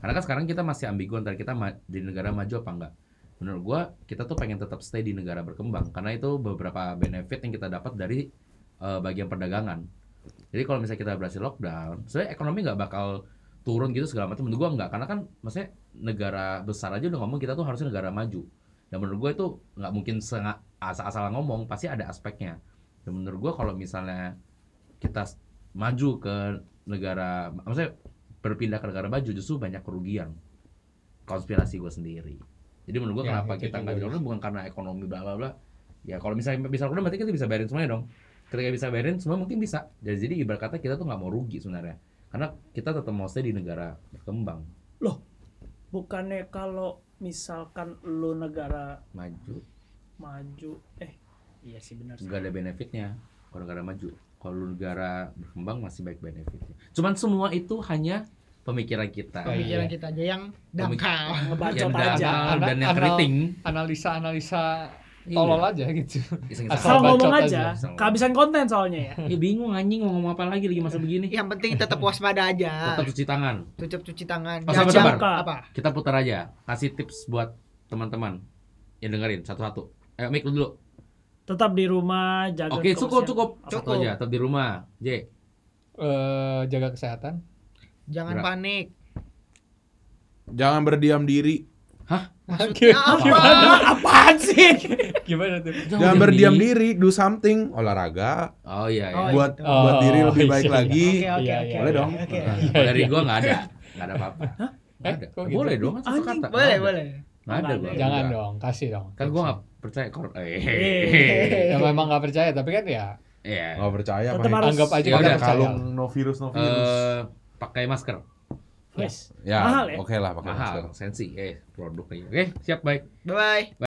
A: karena kan sekarang kita masih ambigu antara kita ma- di negara maju apa enggak menurut gua kita tuh pengen tetap stay di negara berkembang karena itu beberapa benefit yang kita dapat dari eh, bagian perdagangan jadi kalau misalnya kita berhasil lockdown sebenarnya ekonomi nggak bakal turun gitu segala macam menurut gua enggak karena kan maksudnya negara besar aja udah ngomong kita tuh harusnya negara maju dan menurut gue itu nggak mungkin senga- asal-asalan ngomong pasti ada aspeknya dan menurut gue kalau misalnya kita s- maju ke negara maksudnya berpindah ke negara maju justru banyak kerugian konspirasi gue sendiri jadi menurut gue
D: Ya,
A: kenapa
D: itu
A: kita
D: juga
A: nggak
D: bisa.
A: lockdown bukan karena ekonomi bla bla bla ya kalau misalnya bisa lockdown berarti kita bisa bayarin semuanya dong ketika bisa bayarin semua mungkin bisa jadi, jadi ibarat kata kita tuh nggak mau rugi sebenarnya karena kita tetap mau stay di negara berkembang
B: Bukannya kalau misalkan lu negara
A: maju
B: maju, eh iya sih benar sih.
A: nggak ada benefitnya kalau negara maju kalau negara berkembang masih baik benefitnya cuman semua itu hanya pemikiran kita
C: Pemikiran
D: Pemikiran
C: kita aja yang
A: Pemik-
C: dangkal.
A: yang
B: Ngebacot
A: dangkal
B: aja.
D: anak-
A: dan yang
D: anak-
A: keriting
D: Analisa-analisa
A: Iya.
D: tolol aja gitu.
A: Iseng-iseng.
B: Asal
D: Asal
B: ngomong
D: bacot
B: aja,
A: aja.
B: kehabisan konten soalnya ya.
A: Ih, bingung anjing mau ngomong apa lagi lagi masa begini
C: Yang penting tetap waspada aja.
A: tetap cuci tangan
C: Tutup cuci tangan.
A: Oh, sabar,
C: Jangan-
A: sabar.
C: Apa?
A: kita putar aja kasih tips buat teman-teman yang dengerin satu-satu eh Mik lu dulu
B: Tetap di rumah, jaga
A: oke cukup
B: kebersihan.
A: cukup
C: Cukup.
A: satu aja tetap di rumah J
D: Eh, jaga kesehatan.
A: Gerak.
C: Jangan panik.
E: Jangan berdiam diri.
C: Maksudnya apa?
B: Ah, apaan sih?
D: Gimana tuh?
E: Jangan berdiam diri, do something, olahraga,
A: oh iya ya
C: Oh, iya.
E: buat
C: gitu.
E: buat diri
D: Oh,
E: lebih baik
D: iya.
E: lagi.
C: Oke oke
D: Iya,
C: oke.
D: iya,
E: Boleh
C: oke,
E: dong.
C: oke.
A: Kalau dari gua nggak ada nggak ada apa-apa Nggak
D: Eh,
A: ada.
D: kok gitu?
A: boleh dong kan satu
B: Anjing,
A: kata
C: Boleh
A: Nggak ada.
C: boleh.
A: nggak ada gua
D: iya. Jangan dong, kasih dong.
A: kan gue nggak percaya kor
B: Eh.
D: Ya memang nggak percaya, tapi kan ya
A: ya
E: Nggak percaya
B: Tetap
E: pakai
B: harus-
D: anggap aja
A: Ya
D: kita
A: udah,
E: pakai
D: percaya.
E: kalung no virus no virus.
A: Eh, pakai masker
B: Wes.
E: ya,
B: mahal ya?
E: oke lah pakai masker.
A: mahal sensi eh produknya oke siap baik
C: Bye bye.